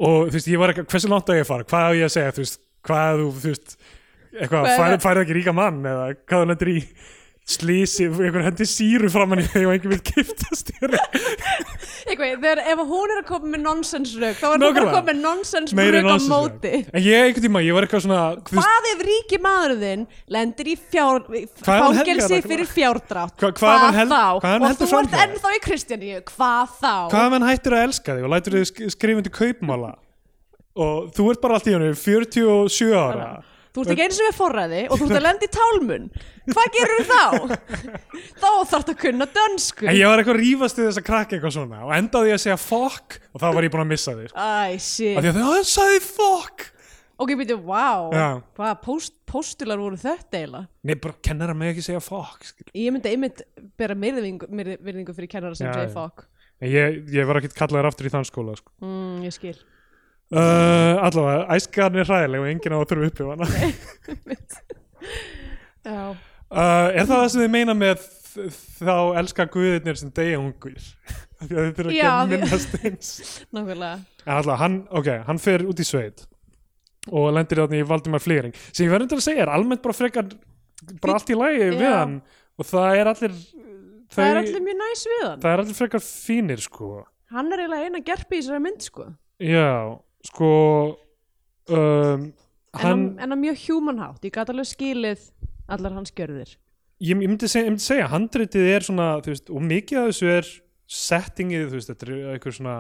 A: og þú veist, ég var eitthvað, hversu langt á ég að fara, hvað á ég að segja, þú veist hvað þú, þú veist, eitthvað
B: Hvað er
A: færið
B: það?
A: fær ekki ríka mann eða hvað þú lendir í slísi, einhvern hendi síru framann í þig og einhvern vil giftast þér
B: Eitthvað, þegar ef hún er að koma með nonsens rök þá er þú bara
A: Nákvæmlega.
B: að koma með nonsens
A: meiri
B: rök á
A: nonsens,
B: móti
A: sko. en ég einhvern tíma, ég var eitthvað svona þú veist,
B: Hvað ef ríki maður þinn lendir í fjár,
A: Hvað ef hann
B: fangelsi
A: helgar það?
B: fyrir fjárdrátt?
A: Hva- hvað ef hann hel-
B: þá?
A: hvað ef hann
B: og
A: heldur
B: þú ert
A: framhjá þér?
B: ennþá í Kristjaníu, hvað þá?
A: hvað ef hann hættir að elska þig og lætur þig sk- skrifa undir kaupmála og þú ert bara allt í hennu 47 ára
B: Þú ert ekki eins og við forræði og þú ert að lenda í tálmun. Hvað gerum við þá? þá þarf að kunna dönsku.
A: En ég var eitthvað að rífast við þess að krakka eitthvað svona og endaði ég að segja fokk og þá var ég búin að missa þig. sko.
B: Æ, shit.
A: Af því að þau, hann sagði fokk!
B: Ok, býttu, vá,
A: Já.
B: hvaða post, postular voru þetta eiginlega?
A: Nei, bara kennara mig ekki segja fokk. skilur.
B: Ég myndi einmitt bera myrðingu, myrðingu fyrir kennara sem
A: Já, já.
B: segir fokk.
A: En ég, ég var ekkert kallaður aftur í þann skóla, sko.
B: Mm, ég skil.
A: Uh, allavega, æskan er hræðileg og enginn á að þurfa uppi á hana. Uh,
B: Já.
A: Uh, er það það sem þið meina með þ- þá elska guðirnir sem deyja ungir? Af því að þið þurfa ekki
B: Já,
A: að
B: því-
A: minnast eins.
B: Nákvæmlega.
A: En allavega, hann, ok, hann fer út í sveit og lendir þarna í Valdimar Flýring sem ég verður að segja er almennt bara frekar bara allt í lagi við
B: Já.
A: hann og það er allir þau,
B: Það er allir mjög næs við hann.
A: það er allir frekar fínir sko
B: Hann er eiginlega eina gerpi í þessari mynd, sko.
A: já, sko um, hann,
B: En hann, en hann mjög humanhátt. Ég gat alveg skilið allar hans gjörðir.
A: ég, ég, myndi segja, ég myndi segja handritið er svona, þú veist, og mikið af þessu er settingið, þú veist, þetta er einhver svona,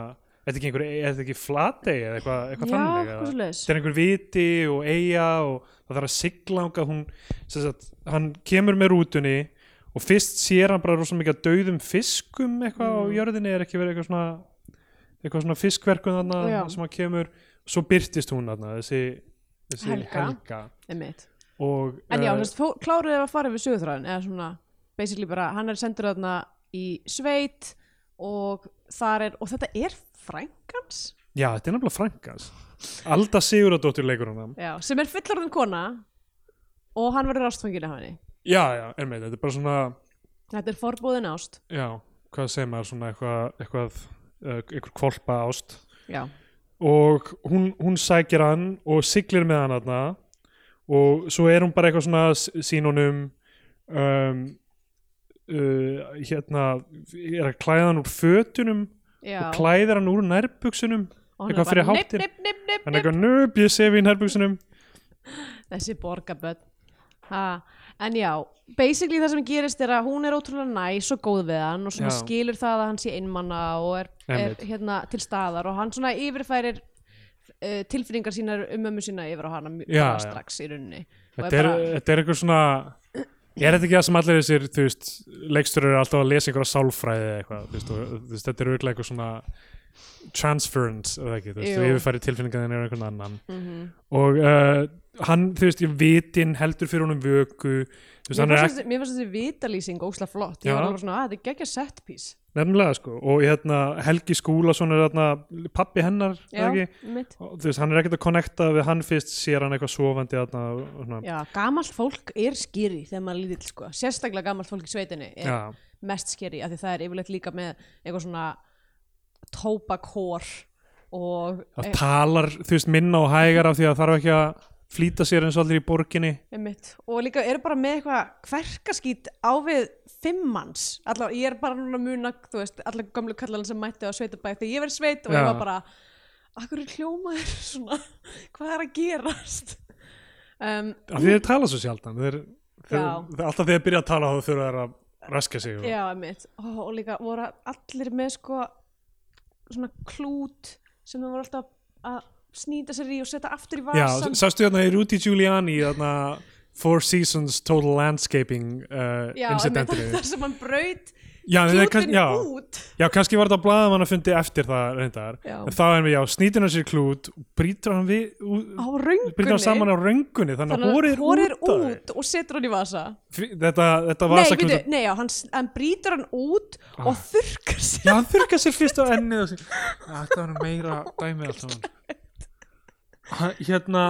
A: þetta er ekki einhver er þetta ekki flatei eða eitthvað, eitthvað
B: Já,
A: þannig eða-
B: hvað svo leiðis.
A: þetta er einhver viti og eiga og það þarf að siglanga hún, sem sagt, hann kemur með rútunni og fyrst sér hann bara rosa mikið að dauðum fiskum eitthvað á
B: Mm.
A: jörðinni er ekki verið eitthvað svona eitthvað svona fiskverkun þarna
B: Já.
A: sem hann kemur, svo byrtist hún þarna þessi, þessi
B: Helga.
A: helga. og
B: En já,
A: eh,
B: uh, kláruðið að fara við sögurþráðin eða svona, basically bara, hann er sendur þarna í sveit og þar er, og þetta er frængans,
A: já, þetta er nefnilega frankas Alda Siguradóttir leikur hann
B: já, sem er fullorðin kona og hann verður ástfangin af henni.
A: já, já, er með, þetta er bara svona
B: Þetta er forbúðin ást,
A: já, hvað segir maður svona eitthvað eitthvað, uh, eitthvað kvolpa ást
B: já.
A: og hún, hún sækir hann og siglir með hann aðna og svo er hún bara eitthvað svona s- sínunum um, uh, hérna er að klæða hann úr fötunum
B: já.
A: og klæðir hann úr nærbuksunum
B: Og hann er
A: eitthvað
B: bara,
A: fyrir
B: "Nipp,
A: háttinn."
B: nipp, nipp, nipp,
A: hann er eitthvað nöp, ég sef í nærbuksunum
B: þessi borgarböld ha. en já, basically það sem gerist er að hún er ótrúlega næs og góð við hann og svona
A: Já.
B: skilur það að hann sé einmanna og er, er
A: Einmitt.
B: hérna til staðar og hann svona yfirfærir uh, tilfinningar sínar um ömmu sína yfir á hana mjög-
A: Já,
B: bara
A: já.
B: strax í runni og
A: þetta er, þetta er eitthvað svona er þetta ekki það sem allir þessir þú veist, leiksturur eru alltaf að lesa einhverja sálfræði eða eitthvað, þú veist, og, þú veist, þetta er auðvitað eitthvað svona transference eða ekki, þú veist,
B: Jú.
A: þú yfirfæri tilfinningarnir er einhvern annan
B: mm -hmm.
A: og uh, hann, þú veist, ég vitinn heldur fyrir honum vöku þú veist,
B: Mér
A: hann er
B: fannst þessi- mér fannst þessi vitalýsing ósla flott
A: Já.
B: Ég var alveg svona, að þetta er geggja set piece
A: nefnilega sko og hérna Helgi Skúlason er hérna pappi hennar
B: Já,
A: eða ekki,
B: mitt
A: og, þú veist, hann er ekkert að connecta við hann fyrst sér hann eitthvað sofandi hérna, og svona,
B: Já, gamalt fólk er skýri þegar maður er lítill sko. Sérstaklega gamalt fólk í sveitinni er
A: já,
B: mest skýri af því það er yfirleitt líka með eitthvað svona tópakór og e,
A: það talar, þú veist, minna og hægar af því að þarf ekki að flýta sér eins og allir í borginni
B: Einmitt. og líka eru bara með eitthvað hverkaskýt á við fimmanns allar, ég er bara núna að muna þú veist, allar gömlu kallan sem mætti á sveitabæk þegar ég verið sveit og
A: Já.
B: ég var bara akkur er hljómaður svona hvað er að gerast um,
A: af því þeir tala svo sjaldan þeir, þeir,
B: Já.
A: alltaf þegar þeir byrja að tala þá þurfa þeir að raska sig og,
B: já, einmitt Ó, og líka voru allir með sko svona klút sem þau voru alltaf að snýta sér í og setja aftur í
A: já,
B: vasan
A: sástu hérna í Rudy Giuliani þarna Four Seasons Total Landscaping uh,
B: einmitt,
A: incidentinu
B: þar sem hann braut
A: já, en þeir kann-
B: klútin
A: já,
B: út
A: já, kannski var þetta blaðamann að fundi eftir það reyndar
B: Já.
A: en þá erum við, já, snýtur hann sér klút og brýtur hann við
B: á
A: ú- brýtur
B: röngunni
A: hann saman á röngunni þannig að
B: Þannig
A: hórið
B: að hórir
A: út, út.
B: út og setur hann í vasa
A: þetta, þetta
B: Nei,
A: vasaklútur
B: veitu, nei, já, hann, s- hann brýtur hann út og þurrkar sér
A: Ah. Já, hann þurrkar sér fyrst á ennið og sér Þetta var nú meira dæmið allt saman Ha- Hérna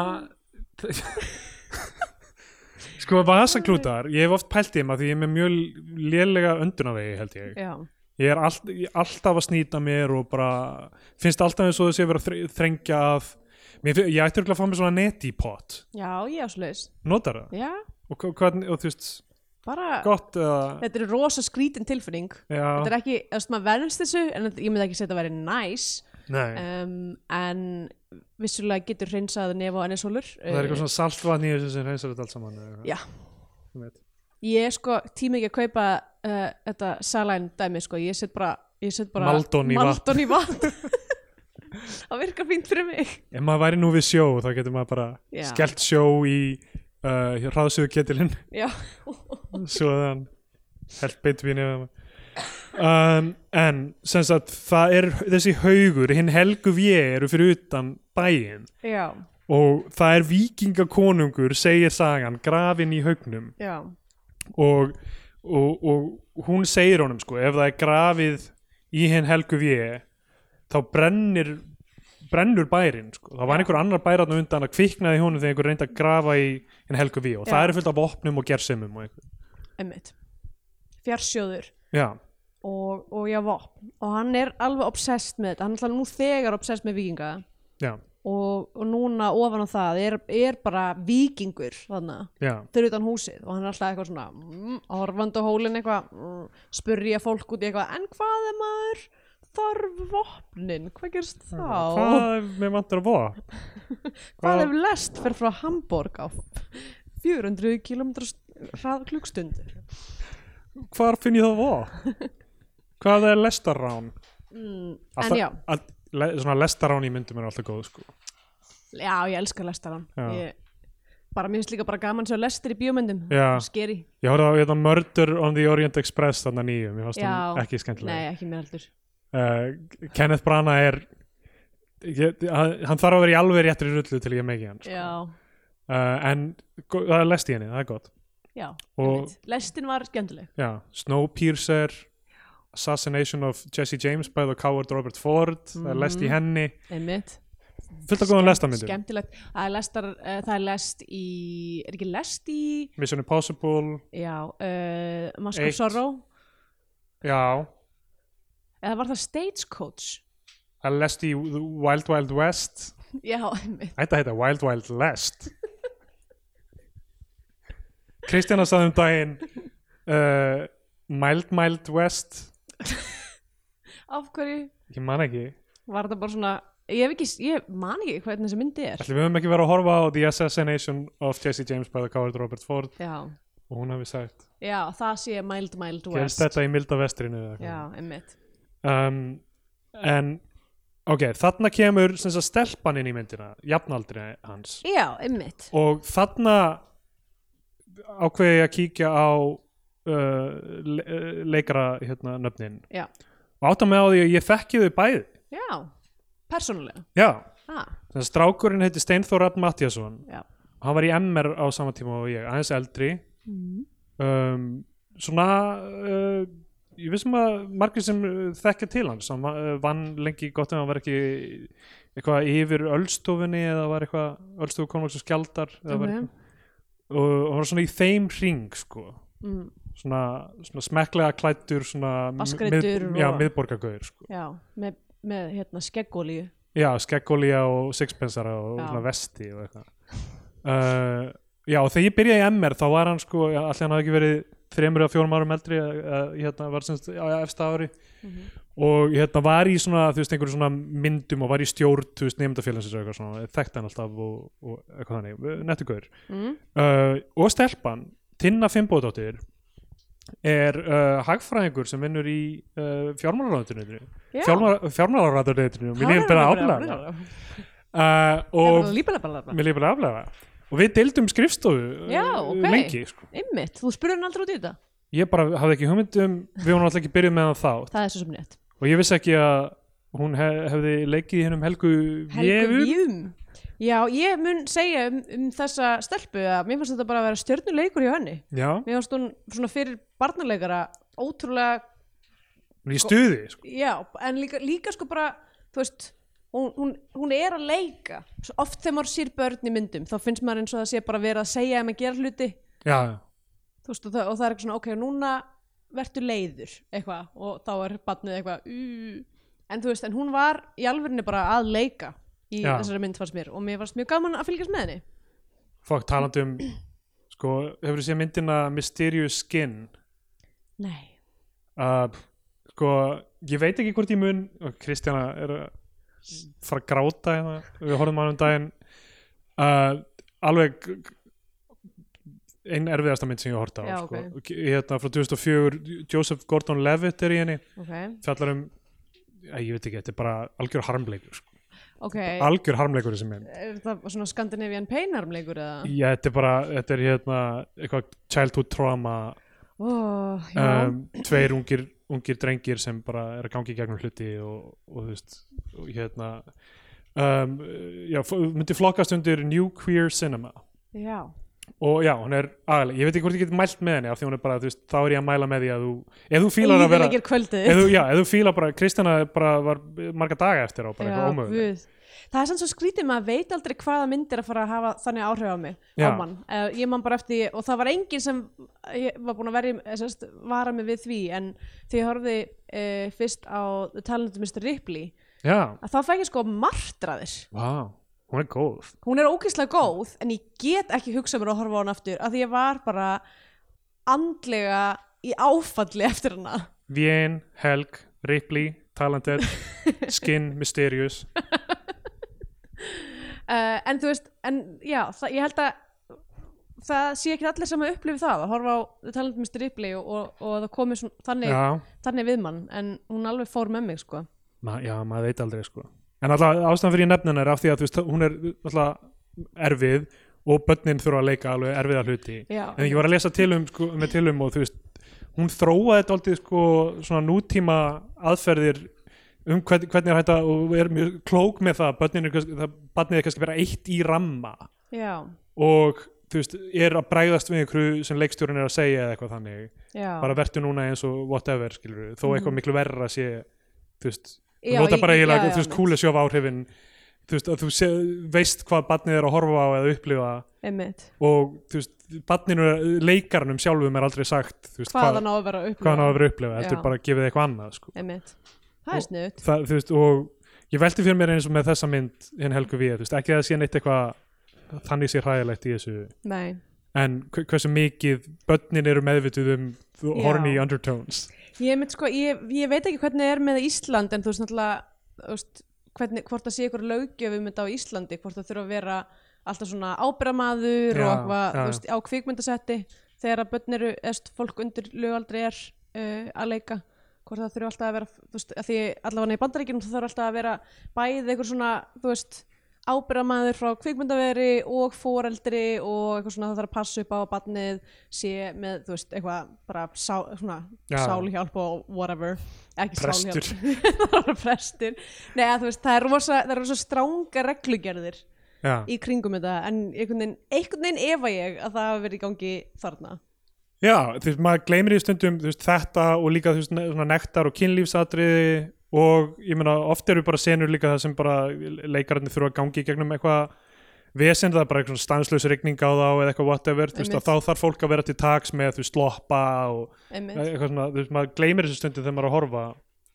A: Sko, vasaklútar Ég hef oft pælt í þeim að því ég er með mjög lélega öndunavegi held ég
B: Já,
A: Ég er all, ég, alltaf að snýta mér og bara finnst alltaf eins og þessi að vera að þre- þrengja að mér, finn- Ég ætti örugglega að fá mér svona netipot
B: já, ég á slags
A: Notar það?
B: Já,
A: Og, hva- hvernig, og þú veist,
B: bara,
A: gott eða
B: þetta er rosa skrítin tilfinning Þetta
A: Já,
B: er ekki, þú veist, maður verðast þessu en þetta- ég myndi ekki segja þetta að vera næs
A: nei
B: um, en vissulega getur hreinsað nef og ennisólur
A: Það er eitthvað svona saltvatn í þessu sem reynsar þetta allt saman eða eitthvað.
B: Já,
A: Ég veit.
B: ég sko tími ekki að kaupa uh, þetta salæn dæmi sko, ég set bara, ég set bara
A: Maldon í vatn.
B: Maldon í vatn Það virkar fínt fyrir mig
A: Ef maður væri nú við sjó, þá getur maður bara
B: Já.
A: skellt sjó í uh, hraðsöðu ketilinn
B: Já,
A: svo að hann held beint við nefnum um, En sem sagt, það er þessi haugur, hinn helgu við eru fyrir utan bæinn
B: já,
A: og það er vikingakonungur, segir sagan, grafinn í haugnum
B: já
A: og, og, og hún segir honum sko, ef það er grafið í hinn helgu við þá brennir brennur bærin sko. það var einhver annar bæratn undan að kviknaði í honum þegar einhver reyndi að grafa í hinn helgu við og
B: Já.
A: það eru fullt af opnum og gersemum og einhver.
B: einmitt fjarsjóður
A: já,
B: og, og já vopn og hann er alveg obsessed með þetta hann er alltaf nú þegar obsessed með vikinga
A: já,
B: og, og núna ofan á það er, er bara vikingur þannig
A: já
B: fyrir utan húsið og hann er alltaf eitthvað svona mm, horfandi á hólinn eitthvað mm, spurja fólk út í eitthvað en hvað er maður þarf vopnin hvað gerst þá
A: hvað ef mér vantur að voða
B: hvað ef lest fer frá Hamborg á 400 km hrað klukkstundur
A: hvar finn ég það að voða hvað ef það er lestarrán
B: mm,
A: Alltaf-
B: en já
A: all, le, svona lestarrán í myndum er alltaf góð sko.
B: Já, ég elska lestarann
A: Já.
B: ég, Bara mér finnst líka bara gaman svo lestir í bíómyndum
A: Já.
B: Skeri
A: ég horfði á hérna, Murder on the Orient Express þannig nýjum, ég fannst
B: Já.
A: hún ekki skemmtilega
B: Nei, ekki mér heldur sko.
A: uh, Kenneth Branagh er ég, hann hann þarf að vera í alveg réttri rullu til ég megi hann sko.
B: Já,
A: uh, en go- það er lest í henni, það er gott
B: já
A: Og-
B: einmitt. Lestin var skemmtileg
A: já, Snowpiercer Assassination of Jesse James by the Coward Robert Ford það er
B: Mhm.
A: lest í henni,
B: Einmitt
A: fullt af góðan lestamyndum
B: Skemmtilegt Það er, lestar, uh, það er lest í Er ekki lest í
A: Mission Impossible,
B: Já, uh, Mask of
A: Eitt.
B: Sorrow
A: já
B: Eða var það Stagecoach
A: það er lest í The Wild Wild West
B: Já, einmitt
A: Þetta heita Wild Wild Lest Kristjana sagði um daginn uh, Mild Mild West
B: Af hverju
A: ég man ekki
B: var það bara svona Ég, hef ekki, ég man ekki hvernig þessi myndi er
A: Ætli við höfum ekki verið að horfa á The Assassination of Jesse James by the Coward Robert Ford
B: Já,
A: og hún hafi sagt,
B: já það sé Mild Mild
A: gerst
B: West
A: þetta í milda vestrinu eða
B: Já,
A: eitthvað.
B: einmitt
A: um, en ok, þarna kemur sem sagt stelpan inn í myndina, jafnaldri hans
B: Já, einmitt.
A: og þarna ákveði ég að kíkja á uh, le leikara hérna, nöfnin
B: Já,
A: og átta mig á því að ég þekki þau bæði
B: já, persónulega
A: já,
B: ah,
A: þannig að strákurinn heiti Steinþór Rapp Mattiasson
B: já.
A: hann var í MR á sama tíma og ég aðeins eldri
B: Mm.
A: um, svona uh, ég vissum að margir sem uh, þekkja til hans hann va- uh, vann lengi gott ef hann var ekki eitthvað yfir öllstofunni eða var eitthvað öllstofu konvaks og skjaldar eða var,
B: Ok.
A: og hann var svona í þeim ring sko
B: Mm.
A: svona, svona smekklega klættur svona mið-
B: Vatnsgreiddur
A: já,
B: og-
A: miðborgagauður sko.
B: já, með, með hérna skeggolíu
A: já, skeggolía og sixpensara og
B: Já.
A: svona vesti og eitthvað uh, já, og þegar ég byrjaði í MR þá var hann sko, já, allir hann hafði ekki verið þremur eða fjórum árum eldri eh, eh, hérna var semst á efsta ári
B: Mhm.
A: og hérna var í svona, þú veist, einhverju svona myndum og var í stjórn, þú veist, nefndafélagsins og eitthvað svona, þekkti hann alltaf og, og eitthvað þannig, nettugur
B: mm.
A: uh, og stelpan, Tinna Fimboðdóttir er uh, hagfræðingur sem vinnur í uh, fjármálaráðunitinu
B: Já.
A: fjármálaráðunitinu, mér líður bara aflega uh, og
B: Líbala bara bara
A: mér líður bara aflega og við deildum skrifstofu uh,
B: Já, ok.
A: lengi sko.
B: Einmitt, þú spurði hann aldrei út í þetta
A: ég bara hafði ekki hugmynd um við vorum alltaf ekki byrjuð með hann þá
B: Það er svo sem neitt
A: og ég vissi ekki að hún hef, hefði leikið í hennum Helgu
B: Helgu
A: Vefum
B: Vjum Já, ég mun segja um, um þessa stelpu að mér fannst þetta bara að vera stjörnuleikur hjá henni
A: já,
B: Mér fannst hún svona fyrir barnaleikara ótrúlega,
A: í stuði sko.
B: já, en líka, líka sko bara, þú veist hún, hún, hún er að leika Svo oft þegar maður sér börn í myndum þá finnst maður eins og það sé bara verið að segja um að gera hluti
A: já,
B: þú veist, og það, og það er eitthvað svona, ok, núna vertu leiður, eitthvað, og þá er barnið eitthvað, uh, en þú veist, en hún var í alvörinni bara að leika í
A: Já.
B: þessari mynd fannst mér, og mér varst mjög gaman að fylgjast með henni.
A: fólk talandi um sko, hefur þú séð myndina Mysterious Skin
B: Nei.
A: að sko, ég veit ekki hvort ég mun og Kristjana er að fara að gráta hérna, við horfum á hann um daginn uh, alveg g- g- ein erfiðasta mynd sem ég horta á
B: Já,
A: sko.
B: ok.
A: Og k- hérna frá 2004, Joseph Gordon-Levitt er í henni,
B: Ok,
A: fjallar um Æ, ég veit ekki, þetta er bara algjör harmleikur sko.
B: ok,
A: algjör harmleikur þessi mynd
B: er það svona Scandinavian Pain-armleikur eða?
A: Já, þetta er bara, þetta er hérna eitthvað childhood trauma
B: Ó, já,
A: um, tveir ungir, ungir drengir sem bara er að gangi í gegnum hluti og, og þú veist, og hérna um, já, f- myndi flokkast undir New Queer Cinema
B: já,
A: og já, hún er aðalega, ég veit ekki hvort ég get mælt með henni af því hún er bara, þú veist, þá er ég að mæla með því að þú, ef þú fílar að vera
B: Eyðileggir kvöldið.
A: ef þú, já, ef þú fílar bara, Kristjana bara var marga daga eftir á, bara
B: Já,
A: eitthvað ómöðu
B: guð. Það er sann svo skrítið maður veit aldrei hvaða myndir að fara að hafa þannig áhrif á mig
A: Já.
B: á mann. Uh, ég man bara eftir og það var enginn sem ég var búin að verja, eh, sem sagt, vara mig við því en þegar ég horfði uh, fyrst á The Talented Mr. Ripley
A: já,
B: að þá fæk ég sko martraðir.
A: vá, hún er góð
B: Hún er ógeðslega góð en ég get ekki hugsað mér að horfa á hann aftur af því ég var bara andlega í áfalli eftir hana.
A: Vien, Helg, Ripley, Talented, Skin, Mysterious
B: uh, en þú veist, en já það, ég held að það sé ekki allir sem að upplifi það að horfa á talandi með stripli og, og, og það komi svona, þannig,
A: Já,
B: þannig við mann en hún alveg fór með mig sko
A: ma já maður veit aldrei sko En alltaf ástæðan fyrir ég nefnin er af því að þú veist, hún er alltaf erfið og börnin þurfa að leika alveg erfiða hluti
B: Já.
A: En ég var að lesa til um, sko, með til um og þú veist, hún þróaði þetta aldrei sko svona nútíma aðferðir um hvern, hvernig er hægt að og er mjög klók með það að börnin er kannski, það, barnið er kannski bara eitt í ramma
B: já,
A: og þú veist, er að bregðast við einhverju sem leikstjórinn er að segja eða eitthvað þannig
B: já, Mhm.
A: bara vertu núna eins og whatever skilur þó eitthvað miklu verra sé þú veist,
B: Já,
A: þú nota
B: ég-
A: bara
B: ég- já,
A: eiginlega
B: já,
A: þú veist
B: mitt.
A: kúlisjóf áhrifin þú veist, að þú sé, veist hvað barnið er að horfa á eða upplifa
B: einmitt
A: og þú veist, barninu, leikarnum sjálfum er aldrei sagt, þú veist,
B: hvað hann á að vera að
A: hvað hann á
B: upplifa
A: að vera að upplifa þetta
B: Já.
A: er bara að gefa þið eitthvað annað sko.
B: einmitt, það er snuðt
A: það, þú veist, og ég velti fyrir mér eins og með þessa mynd hinn helgu við, þú veist, ekki að það sé neitt eitthvað þannig sé hræðilegt í þessu
B: nei
A: en hve- hversu mikið börnin eru meðvituð um horny undertones
B: Ég, mynd, sko, ég, ég veit ekki hvernig það er með Ísland en þú veist náttúrulega þú veist, hvernig, hvort það sé ykkur löggjöfum þetta á Íslandi hvort það þurfa að vera alltaf svona ábyrramaður og
A: Já,
B: eitthvað
A: já,
B: þú
A: já.
B: veist, á kvikmyndasetti þegar að börn eru, eðst, fólk undir lögaldri er uh, að leika hvort það þurfa alltaf að vera þú veist, að því allavega í bandaríkjum það þurfa alltaf að vera bæði einhver svona þú veist ábyrðamaður frá kvikmyndaveri og foreldri og eitthvað svona það þarf að passa upp á að barnið sé með, þú veist, eitthvað bara sá, svona
A: Já.
B: sálhjálp og whatever ekki
A: Prestur.
B: sálhjálp, það var prestur Nei, að þú veist, það er rosa, það er rosa stránga reglugerðir
A: já,
B: í kringum þetta en einhvern veginn, einhvern veginn efa ég að það hafi verið í gangi þarna
A: já þú veist, maður gleymir í stundum þú veist, þetta og líka þú veist, ne- svona nektar og kynlífsatriði og ég meina oft eru bara senur líka það sem bara leikararnir þurfa að gangi í gegnum eitthvað vesen, það er bara eitthvað stanslaus rigning á þá eða eitthvað whatever, þú veist, að
B: Einmitt.
A: þá þarf fólk að vera til taks með þú veist, sloppa og
B: einmitt,
A: eitthvað svona, þú veist, maður gleymir þessu stundum þegar maður er að horfa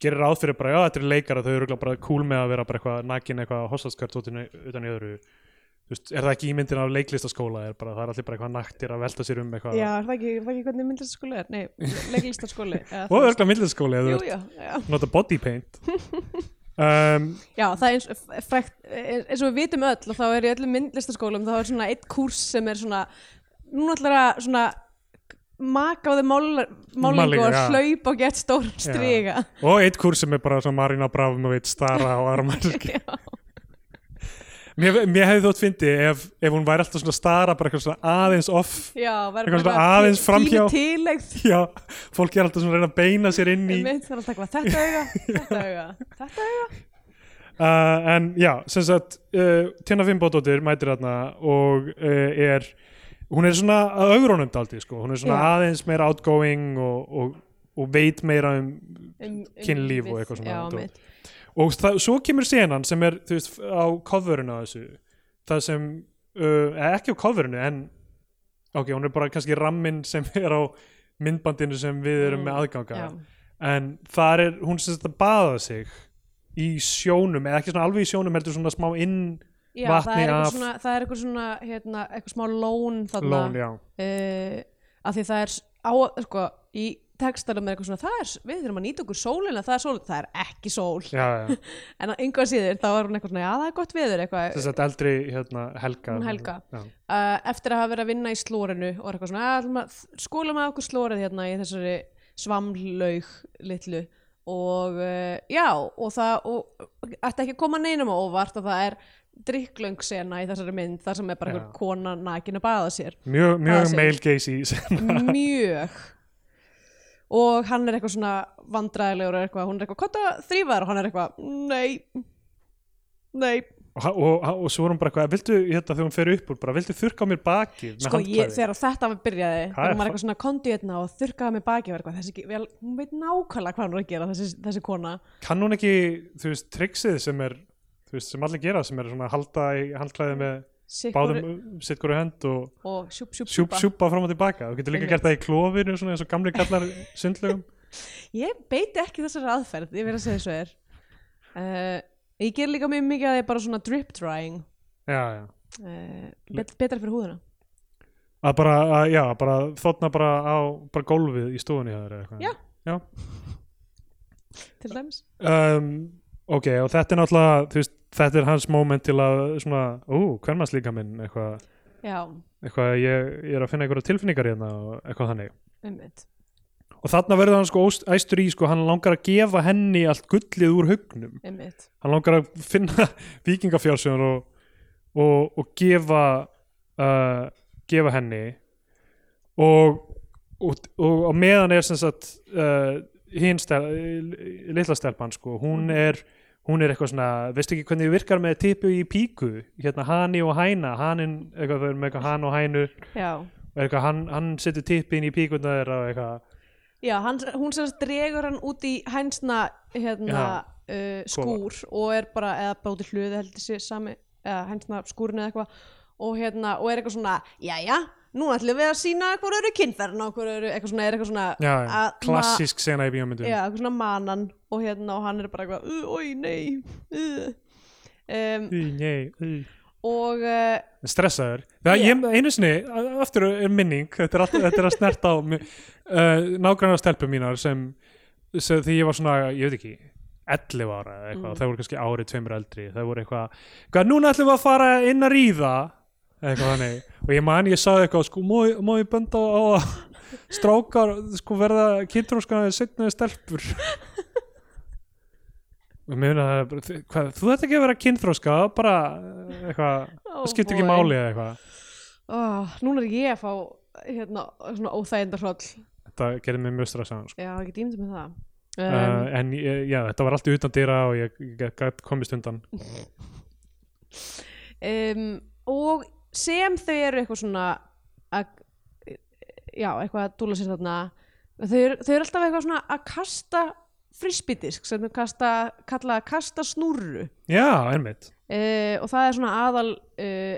A: gerir ráð fyrir bara, já þetta er leikara þau eru örugglega bara cool með að vera bara eitthvað nakin eitthvað hossaskvartótinu utan í öðru þú veist, er það ekki ímyndin af leiklistaskóla er bara, það er allir bara eitthvað naktir að velta sér um eitthvað
B: já, er það ekki, er það ekki hvernig myndlistaskóli er nei, leiklistaskóli eða
A: og
B: þú veist.
A: örgla millistaskóli eða þú
B: Jú,
A: ert
B: já, já.
A: nota body paint um,
B: já, það er eins, frekt, eins og við vitum öll og þá er í öllum myndlistaskólum þá er svona eitt kúrs sem er svona núna ætlar að svona maka á þeim málingu
A: Málningu,
B: og
A: já.
B: hlaupa og gett stóran striga
A: og eitt kurs sem er bara svona Marina Bravum og veit stara á aðra mannski
B: Já.
A: mér, mér hefði þótt fyndi ef, ef hún væri alltaf svona stara bara eitthvað svona aðeins off
B: já, verður
A: Eitthvað svona aðeins framhjá.
B: tilegð
A: já, fólk er alltaf svona að reyna að beina sér inn í
B: Einmitt, það er alltaf eitthvað þetta auga, þetta auga, þetta auga
A: uh, en já, sem sagt uh, Tina Fimboðdóttir mætir þarna og uh, er hún er svona að augrónum daldi sko. hún er svona
B: Já.
A: aðeins meira outgoing og, og, og veit meira um
B: Um- um
A: Kynlíf og
B: við-
A: eitthvað svona
B: já,
A: dót.
B: mitt.
A: og það, svo kemur senan sem er þú veist, á coverinu af þessu það sem, uh, eða ekki á coverinu en ok, hún er bara kannski ramminn sem er á myndbandinu sem við erum
B: Mm,
A: með aðganga
B: já.
A: en þar er hún sem þetta baða sig í sjónum, eða ekki svona alveg í sjónum heldur svona smá inn
B: Já,
A: vatni
B: það er eitthvað
A: af-
B: svona, það er eitthvað svona hérna, eitthvað smá lón þarna
A: lón, já
B: uh, að því það er s- á, sko, í textanum er eitthvað svona það er, s- við þurfum að nýta okkur sólina, það er sól það er ekki sól,
A: já, já,
B: en að einhvað síður þá er hún eitthvað svona, já það er gott viður eitthvað
A: þess að eldri hérna, Helga
B: Hún Helga.
A: já.
B: uh, eftir að hafa verið að vinna í slórinu og er eitthvað svona, "Ah, ætlum að skóla maður okkur slórið hérna í þessari svamlaug litlu og uh, já, og það og, ætti ekki að koma neinum á óvart að það er drikklöng sena í þessari mynd þar sem er bara
A: Já.
B: einhver kona nakin að baða sér
A: mjög,
B: Baða
A: mjög
B: sig.
A: male gaze í sena
B: mjög og hann er eitthvað svona vandræðilegur og eitthvað, hún er eitthvað, hvað það þrýfaður og hann er eitthvað, nei nei,
A: og, og, og svo er hún bara eitthvað, viltu, hérna, þegar hún fer upp úr bara, viltu þurrka á mér bakið með
B: sko ég,
A: handklæði?"
B: þegar þetta byrjaði,
A: Það er
B: þegar maður er
A: fa-
B: eitthvað svona kondi hérna og þurrkaði mig baki og er eitthvað, þessi, ekki- vel, hún veit nákvæmlega hvað hún er að gera þessi, þessi kona,
A: kann hún ekki, þú veist, triksið sem er þú veist, sem allir gera, sem er svona að halda í handklæði með
B: sikkur
A: báðum sitt hverju hend og
B: og sjúp, sjúp,
A: sjúp sjúpa fram og tilbaka, þú getur líka
B: Einmitt.
A: gert það í klófinu svona eins og gamli kallar sundlögum
B: ég beiti ekki þessari aðferð, ég verð að segja þessu er uh, ég ger líka mjög mikið að ég bara svona drip drying
A: já, já,
B: uh, bet, betra fyrir húðina
A: að bara, að, já, bara þotna bara á, bara gólfið í stofunni hjá þér eða eitthvað
B: Já.
A: já.
B: til dæmis
A: Um, ok, og þetta er náttúrulega þú veist, þetta er hans moment til að svona, ú, hvern maður slíka minn eitthvað,
B: já,
A: eitthvað ég, ég er að finna einhverja tilfinningar hérna og eitthvað þannig
B: einmitt
A: og þarna verður hann sko óst- æstur í sko, hann langar að gefa henni allt gullið úr hugnum
B: einmitt
A: hann langar að finna vikingafjársjónar og, og, og gefa uh, gefa henni og, og, og á meðan er sem sagt uh, hinn stel, litla stelpan sko, hún er hún er eitthvað svona, veistu ekki hvernig þið virkar með tipu í píku, hérna hani og hæna hanin, eitthvað þau eru með eitthvað hann og hænu
B: já,
A: og eitthvað hann, hann setur tipu inn í píkuna þeirra og eitthvað
B: já hann, hún sem sagt dregur hann út í hænsna hérna, uh, skúr og er bara, eða bara út í hluði heldur sér sami, eða hænsna skúrin eða eitthvað og, hérna, og er eitthvað svona, jæja nú ætlum við að sína hvað eru kynferðin og hvað eru, eitthvað svona, er eitthvað svona
A: já,
B: að-
A: klassisk sena í bíómyndum
B: Já, eitthvað svona manan og hérna og hann er bara eitthvað, "Ú, oj, nei, uh. um,
A: Í, nei, í.
B: og uh,
A: stressaður það,
B: Já.
A: ég, einu sinni, a- aftur er minning þetta er, alltaf, þetta er að snerta á mig, uh, nágrannar stelpum mínar sem, sem því ég var svona, ég veit ekki 11 ára eða eitthvað, mm. það voru kannski árið tveimur eldri, það voru eitthvað hvað, núna ætlum við að fara inn að ríða eitthvað þannig, og ég man, ég sagði eitthvað sko, má, ég- má ég benda á að strákar, sko, verða kynntróskanaði setnaði stelpur og og mér finnir að það er bara, þi- hvað, þú þetta ekki að vera kynþróska bara eh, eitthvað,
B: oh,
A: það skiptir ekki máli eða eitthvað
B: oh, Núna er ég að fá hérna, svona óþægindarhroll
A: þetta gerði mig mjög stressaðan sko.
B: Já, ekki dýmd með það
A: uh,
B: um,
A: en ég- já, þetta var allt í utan dýra og ég, ég gat komist undan
B: um, Og sem þau eru eitthvað svona að, Já, eitthvað að dúla sér þarna Þau eru, þau eru alltaf eitthvað svona að kasta frisbydisk sem þau kasta, kalla að kasta snúru
A: já, einmitt
B: uh, og það er svona aðal uh,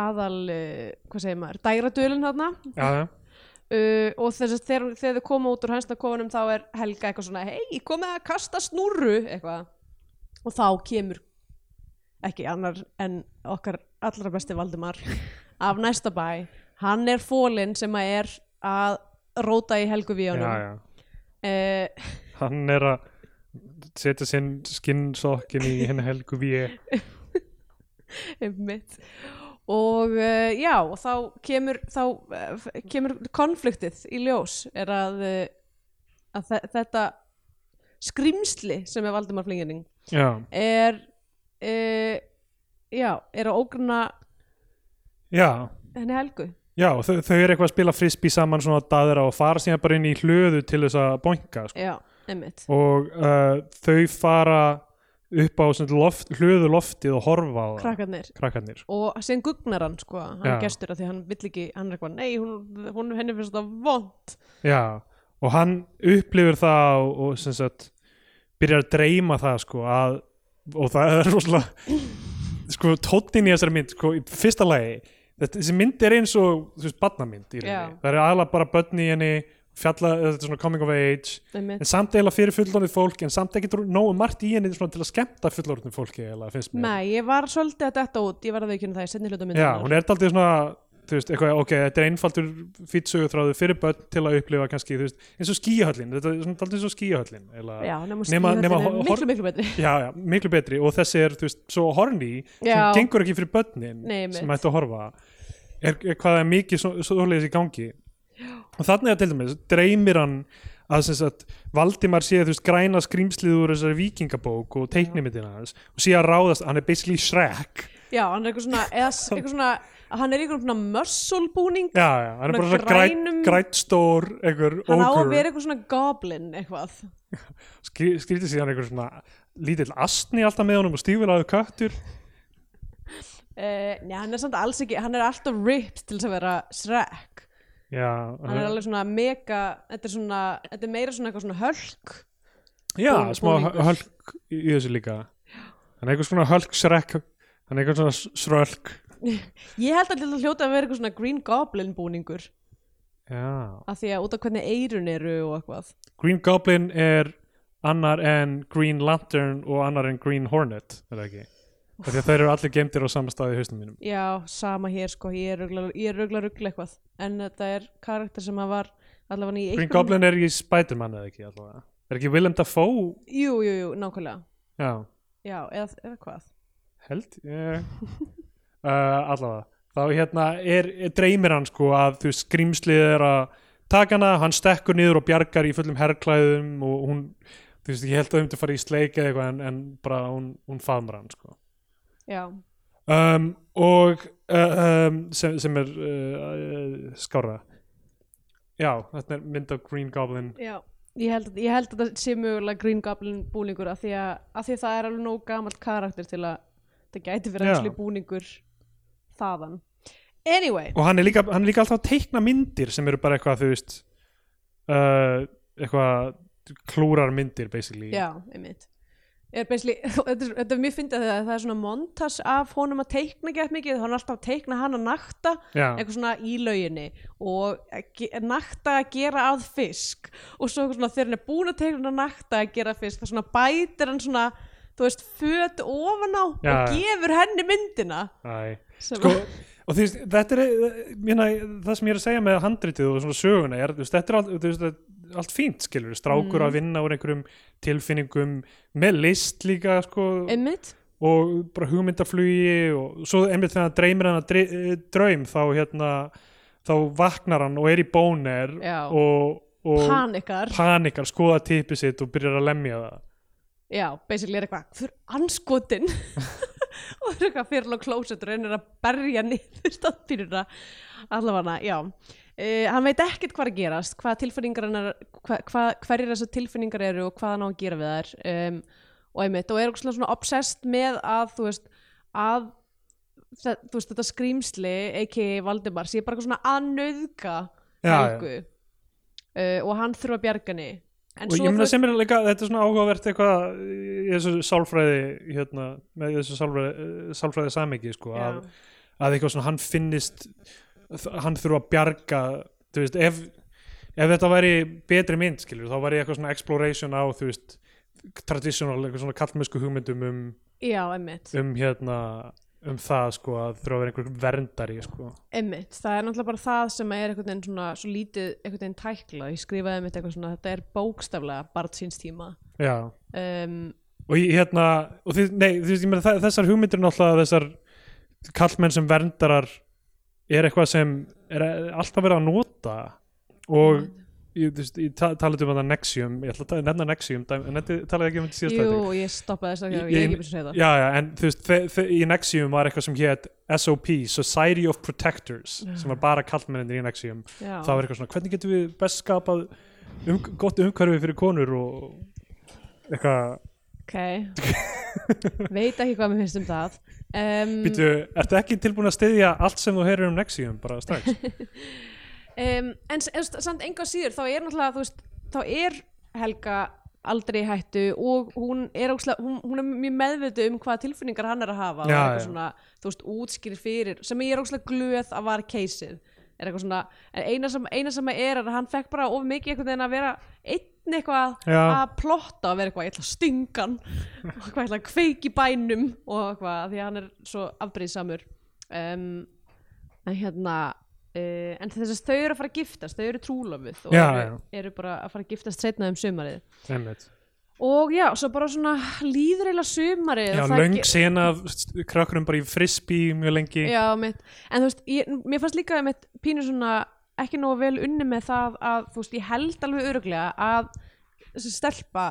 B: aðal uh, hvað segir maður, dægradölin þarna
A: já, já.
B: uh, og þess að þegar, þegar þau koma út úr hænsnakofunum þá er Helga eitthvað svona hei, komið að kasta snúru eitthvað og þá kemur ekki annar en okkar allra besti Valdimar af næsta bæ hann er fólinn sem að er að róta í Helgu
A: já,
B: víunum
A: já.
B: uh,
A: hann er að setja sinn skinnsokkin í henni helgu við
B: mitt og uh, já, og þá kemur þá uh, kemur konfliktið í ljós er að, uh, að þe- þetta skrimsli sem er Valdimar Flingening
A: já,
B: er uh, já, er að ógruna
A: já
B: henni Helgu
A: Já, þau, þau eru eitthvað að spila frisbee saman svona að daðra og fara síðan bara inn í hlöðu til þess að boinka sko.
B: já, einmitt
A: og uh, þau fara upp á sem sagt loft, hlöðu loftið og horfa á það
B: krakkarnir
A: krakkarnir sko.
B: og síðan gugnar hann sko hann
A: Já.
B: gestur að því að hann vill ekki hann er eitthvað, nei, hún, hún henni finnst það vond
A: Já, og hann upplifir það og, og sem sagt byrjar að dreyma það sko að, og það er rosalega sko tóttin í þessari mynd sko, í fyrsta lagi, þetta, þessi mynd er eins og þú veist, badnamynd í rauninni
B: Já.
A: það er aðalega bara börn í henni fjalla, þetta er svona coming of age en
B: einmitt,
A: samt eiginlega fyrir fullorðið fólk en samt ekki nógu margt í henni svona til að skemmta fullorðið fólki eiginlega, finnst mér
B: nei, ég var svolítið að detta út ég var að veikina það, ég setni hluta
A: já,
B: myndunar
A: hún er daldið svona þú veist, eitthvað, ok, þetta er einfaldur fýtsögutráðu fyrir börn til að upplifa kannski, þú veist, eins og skíahöllin þetta er svona daldið eins og skíahöllin eiginlega.
B: Já, nema
A: Nema-
B: skíðahöllin
A: nema
B: er
A: hor-
B: miklu, miklu betri
A: já, já, miklu betri og þessi er, þú veist, svo horny
B: Já.
A: sem gengur ekki fyrir börnin
B: Nei, einmitt.
A: sem ætti að horfa er, er hvað er mikið svo- svoleiðis í gangi og þannig að til dæmis dreymir hann að sem sagt Valdimar sé þú veist græna skrýmslið úr þessari vikingabók og teiknimyndina hans og sé að ráðast, hann er basically Shrek
B: Já, hann er eitthvað svona, eða, s- eitthvað svona hann er í eitthvað svona musclebúning
A: já, já, hann er
B: Svona
A: bara svona grænum...
B: grænum-
A: grætt stór einhver
B: hann á að
A: ogre,
B: vera eitthvað svona goblin eitthvað
A: Skrí- skrýtið síðan einhver svona lítill astni alltaf með honum og stífilaðu köttur
B: uh, Nei, hann er samt alls ekki, hann er alltaf ripped til þess að vera Shrek
A: já,
B: hann er alveg svona mega þetta er, svona, þetta er meira svona eitthvað svona hölk
A: já
B: búning-
A: smá
B: búningur.
A: hölk í í þessu líka hann er einhver svona hölk Shrek hann er einhver svona s- srölk
B: Ég held að þetta hljóta að vera eitthvað svona green goblin búningur
A: já
B: af því að út af hvernig eirun eru og eitthvað
A: Green Goblin er annar en Green Lantern og annar en Green Hornet er það ekki? Af því að þeir eru allir gemdir á sama staði í hausnum mínum
B: Já, sama hér sko, ég er rugla, ég er rugla, rugla eitthvað en þetta er karakter sem að var allavega í
A: Green
B: einhverjum-
A: Goblin er í Spider-Man eða ekki allavega er ekki Willem Dafoe?
B: Jú, jú, jú, nákvæmlega
A: Já,
B: Já, eða, eða hvað
A: held eh, uh, allavega þá hérna er, er dreymir hann sko að þú veist, skrýmslið er að taka hana, hann stekkur niður og bjargar í fullum herrklæðum og hún þú veist, ég held að þau myndi fara í sleik eða eitthvað en, en bara hún, hún faðmar hann sko
B: Já,
A: um, og uh, um, sem, sem er uh, uh, skára já, þetta er mynd af Green Goblin
B: já Ég held, að- ég held að þetta sé mögulega Green Goblin búningur af því að, að, því að það er alveg nóg gamalt karakter til að það gæti verið
A: Já.
B: actually búningur þaðan Anyway,
A: og hann er, líka, hann er líka alltaf að teikna myndir sem eru bara eitthvað, þú veist uh, eitthvað klúrar myndir, basically
B: já, einmitt Er basically- þetta er- þetta er mjög fyndið þegar það er svona montas af honum að teikna gett mikið, hann er alltaf að teikna hann að nakta
A: Já.
B: eitthvað svona í lauginni og ge- nakta að gera að fisk og svo eitthvað svona þegar hann er búin að teikna nakta að gera að fisk þá svona bætir hann svona þú veist, föt ofan á
A: Já,
B: og
A: já.
B: gefur henni myndina
A: Æ.
B: sem
A: sko, og þú veist, þetta er mérna, það sem ég er að segja með handritið og svona söguna er, þú veist, þetta er allt, þú veist, þetta er allt fínt, skilur, strákur
B: Mm.
A: að vinna úr einhverjum tilfinningum með list líka, sko
B: einmitt
A: og bara hugmyndaflugi og svo einmitt þegar hann dreymir hann að dre eh, draum þá hérna þá vaknar hann og er í bóner
B: Já.
A: og, og
B: panikar
A: panikar skoða tippið sitt og byrjar að lemja það
B: já, basically er eitthvað fyrir anskotin og það er eitthvað fyrir alveg klósett og reynir að berja niður stóttýruna allavega, já uh, hann veit ekkert hvað er að gerast hvað tilfinningar hann er hva, hva, hverjir þessar tilfinningar eru og hvað hann á að gera við þær um, og einmitt, og er eitthvað svona- svona obsessed með að, þú veist, að það, þú veist, þetta skrýmsli a.k.a. Valdimar, sé bara eitthvað svona að nauðga
A: Já,
B: Helgu Uh, og hann þurfa að bjarga henni en
A: og
B: svo
A: ég meina
B: þú-
A: sem er líka, þetta er svona áhugavert eitthvað í þessu sálfræði hérna, með þessu sálfræði, eh, sálfræði samingi sko,
B: Já.
A: að, að eitthvað svona hann finnist þ- hann þurfa að bjarga þú veist, ef, ef þetta væri betri mynd, skilur, þá væri eitthvað svona exploration á, þú veist traditional, eitthvað svona kallmösku hugmyndum um,
B: já, emmitt,
A: um hérna um það, sko, að þurfa að vera einhver verndari, sko,
B: emmitt það er náttúrulega bara það sem er einhvern veginn svona svo lítið einhvern veginn tækla, ég skrifaði einmitt eitthvað svona þetta er bókstaflega barn síns tíma
A: já
B: um,
A: og ég, hérna og því, nei, því, ég meina, þa- þessar hugmyndir náttúrulega þessar kallmenn sem verndarar er eitthvað sem er alltaf verið að nota og ég, þú veist, ég ta talaði um þetta Nexium ég ætla að ta- nefna Nexium dæmi- en þetta- talaði ég ekki um þetta síðast
B: jú, ég stoppaði þess að
A: Ég-
B: ég er
A: ég-
B: ekki byrja að segja það
A: já, já, en þú veist, þe- þe- í Nexium var eitthvað sem hétt SOP, Society of Protectors sem var bara kallmennir í Nexium
B: já,
A: það var eitthvað svona, hvernig getum við best skapað um, gott umhverfi fyrir konur og eitthvað
B: ok veit ekki hvað mér finnst um það um,
A: Býtu, ertu ekki tilbúin að styðja allt sem þú heyrir um Nexium bara strax?
B: um, en s- en s- samt enga síður þá er náttúrulega þú veist, þá er Helga aldrei í hættu og hún er, óksla, hún, hún er mjög meðvituð um hvaða tilfinningar hann er að hafa og
A: Já,
B: er eitthvað
A: já.
B: svona, þú veist, útskýr fyrir sem ég er ókslega glöð að var keysið er eitthvað svona, en eina sem, eina sem er að hann fekk bara of mikið einhvern veginn að vera einn eitthvað
A: Já.
B: að plotta að vera eitthvað, ég ætla að stinga hann og eitthvað, ég ætla að kveiki bænum og eitthvað, því að hann er svo afbrýðsamur um, en hérna uh, en þess að þau eru að fara að giftast þau eru trúlofuð og
A: Já,
B: eru, eru bara að fara að giftast setna um sumarið
A: Einmitt.
B: og já, svo bara svona líður eiginlega sumarið
A: Já,
B: og það
A: löng
B: ge-
A: sena af st- krakkurum bara í frisbee mjög lengi.
B: já, mitt. en þú veist, ég, mér fannst líka mitt pínu svona ekki nógu vel unni með það að þú veist, ég held alveg öruglega að þessi stelpa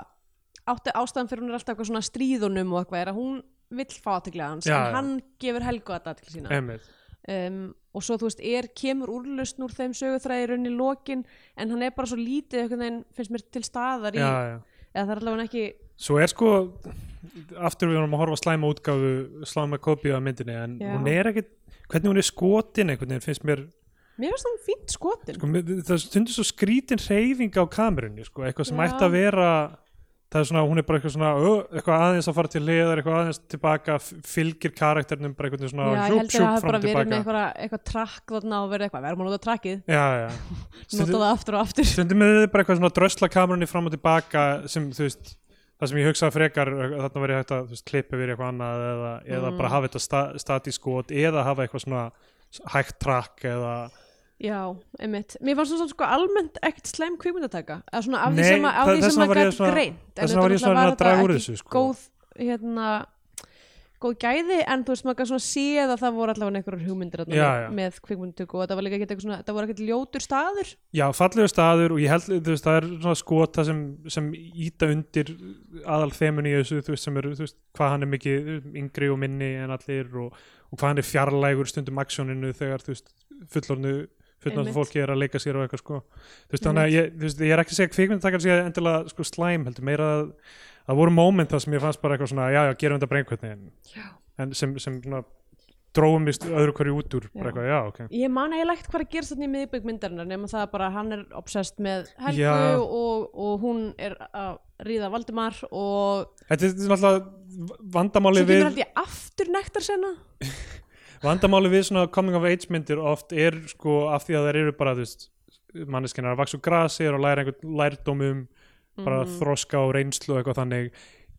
B: átti ástæðan fyrir hún er alltaf eitthvað svona stríðunum og eitthvað er að hún vill fá aðteklega hans
A: Já,
B: en
A: já.
B: hann gefur helgu að aðteklega sína
A: Einmitt.
B: um, og svo þú veist, er, kemur úrlustn úr þeim söguþræði í raun í lokin en hann er bara svo lítið einhvern veginn, finnst mér til staðar í,
A: Já, já.
B: eða það er allavega ekki
A: Svo er sko, aftur við vorum að horfa á slæma útgáfu, slæma kopíu af myndinni, en
B: Já.
A: hún er ekkit, hvernig hún er skotin einhvern veginn, finnst mér,
B: mér finnst það fínt skotin
A: sko, mér- það stundur svo skrítin reyfing á kamerunni, sko, eitthvað sem
B: Já.
A: ætti að vera, það er svona, hún er bara eitthvað svona, ö, eitthvað aðeins að fara til hliðar, eitthvað aðeins tilbaka, f- fylgir karakternum bara einhvern veginn
B: Já,
A: svona,
B: ég held að það hafa
A: fram
B: bara
A: og
B: verið með
A: tilbaka.
B: eitthvað, eitthvað trakk þarna og verið eitthvað, verðum að nota trakkið,
A: já, já.
B: nota
A: Stundum-
B: það aftur og aftur.
A: stundum er þetta bara eitthvað svona drösla kamerunni fram og tilbaka sem þú veist það sem ég hugsaði frekar þarna verið hægt að þú veist, klippa við eitthvað annað eða, eða
B: Mm.
A: bara hafa þetta sta, statískot eða hafa eitthvað svona hægt track eða
B: Já, einmitt. Mér fannst svona sko almennt ekkert slæm kvikmyndataka, eða svona af
A: Nei,
B: því sem að, af
A: það-
B: því
A: þess
B: sem
A: vegna
B: að
A: var ég
B: gætt
A: svona-
B: greint. En
A: þess vegna
B: þetta
A: var ég svona
B: náttúrulega
A: að draga
B: þetta
A: úr
B: ekki
A: þessu, sko.
B: Góð, hérna, góð gæði, en þú veist maður gætt svona séð að það voru allavega einhverjar hugmyndir þarna
A: Já,
B: með-
A: já.
B: með kvikmyndatöku og þetta var líka ekkert eitthvað svona, þetta voru ekkert ljótur staður.
A: já, fallegur staður og ég held þú veist, það er svona skot það sem, sem íta undir aðal þemun í þessu þú veist, sem er, þú veist, hvað hann er mikið yngri og minni en allir og, og hvað hann er fjarlægur stundum aksjóninu þegar þú veist, fullornu fullornu
B: Einmitt.
A: fólki er að leika sér og eitthvað sko þú veist, þannig að ég, þú veist, ég er ekki að segja kvikmyndatakar sé endilega sko slæm heldur meira að það voru moment það sem ég fannst bara eitthvað svona já, já, gerum þetta bara einhvern veginn en sem, sem svona, dróum mist öðru hverju út úr bara
B: Já.
A: eitthvað, já, ok
B: Ég man eiginlega ekkert hvað er að gerast þarna í miðbygg myndarinnar nema það bara að hann er obsessed með Helgu
A: Já.
B: og, og hún er að ríða Valdimar og
A: Þetta er náttúrulega vandamáli
B: svo kemur
A: við
B: held ég aftur nektar senna
A: vandamáli við svona coming of age myndir oft er sko af því að þær eru bara þú veist, manneskinn er að vaksa úr grasi er að læra einhvern lærdómum bara
B: Mhm.
A: þroska og reynslu og eitthvað þannig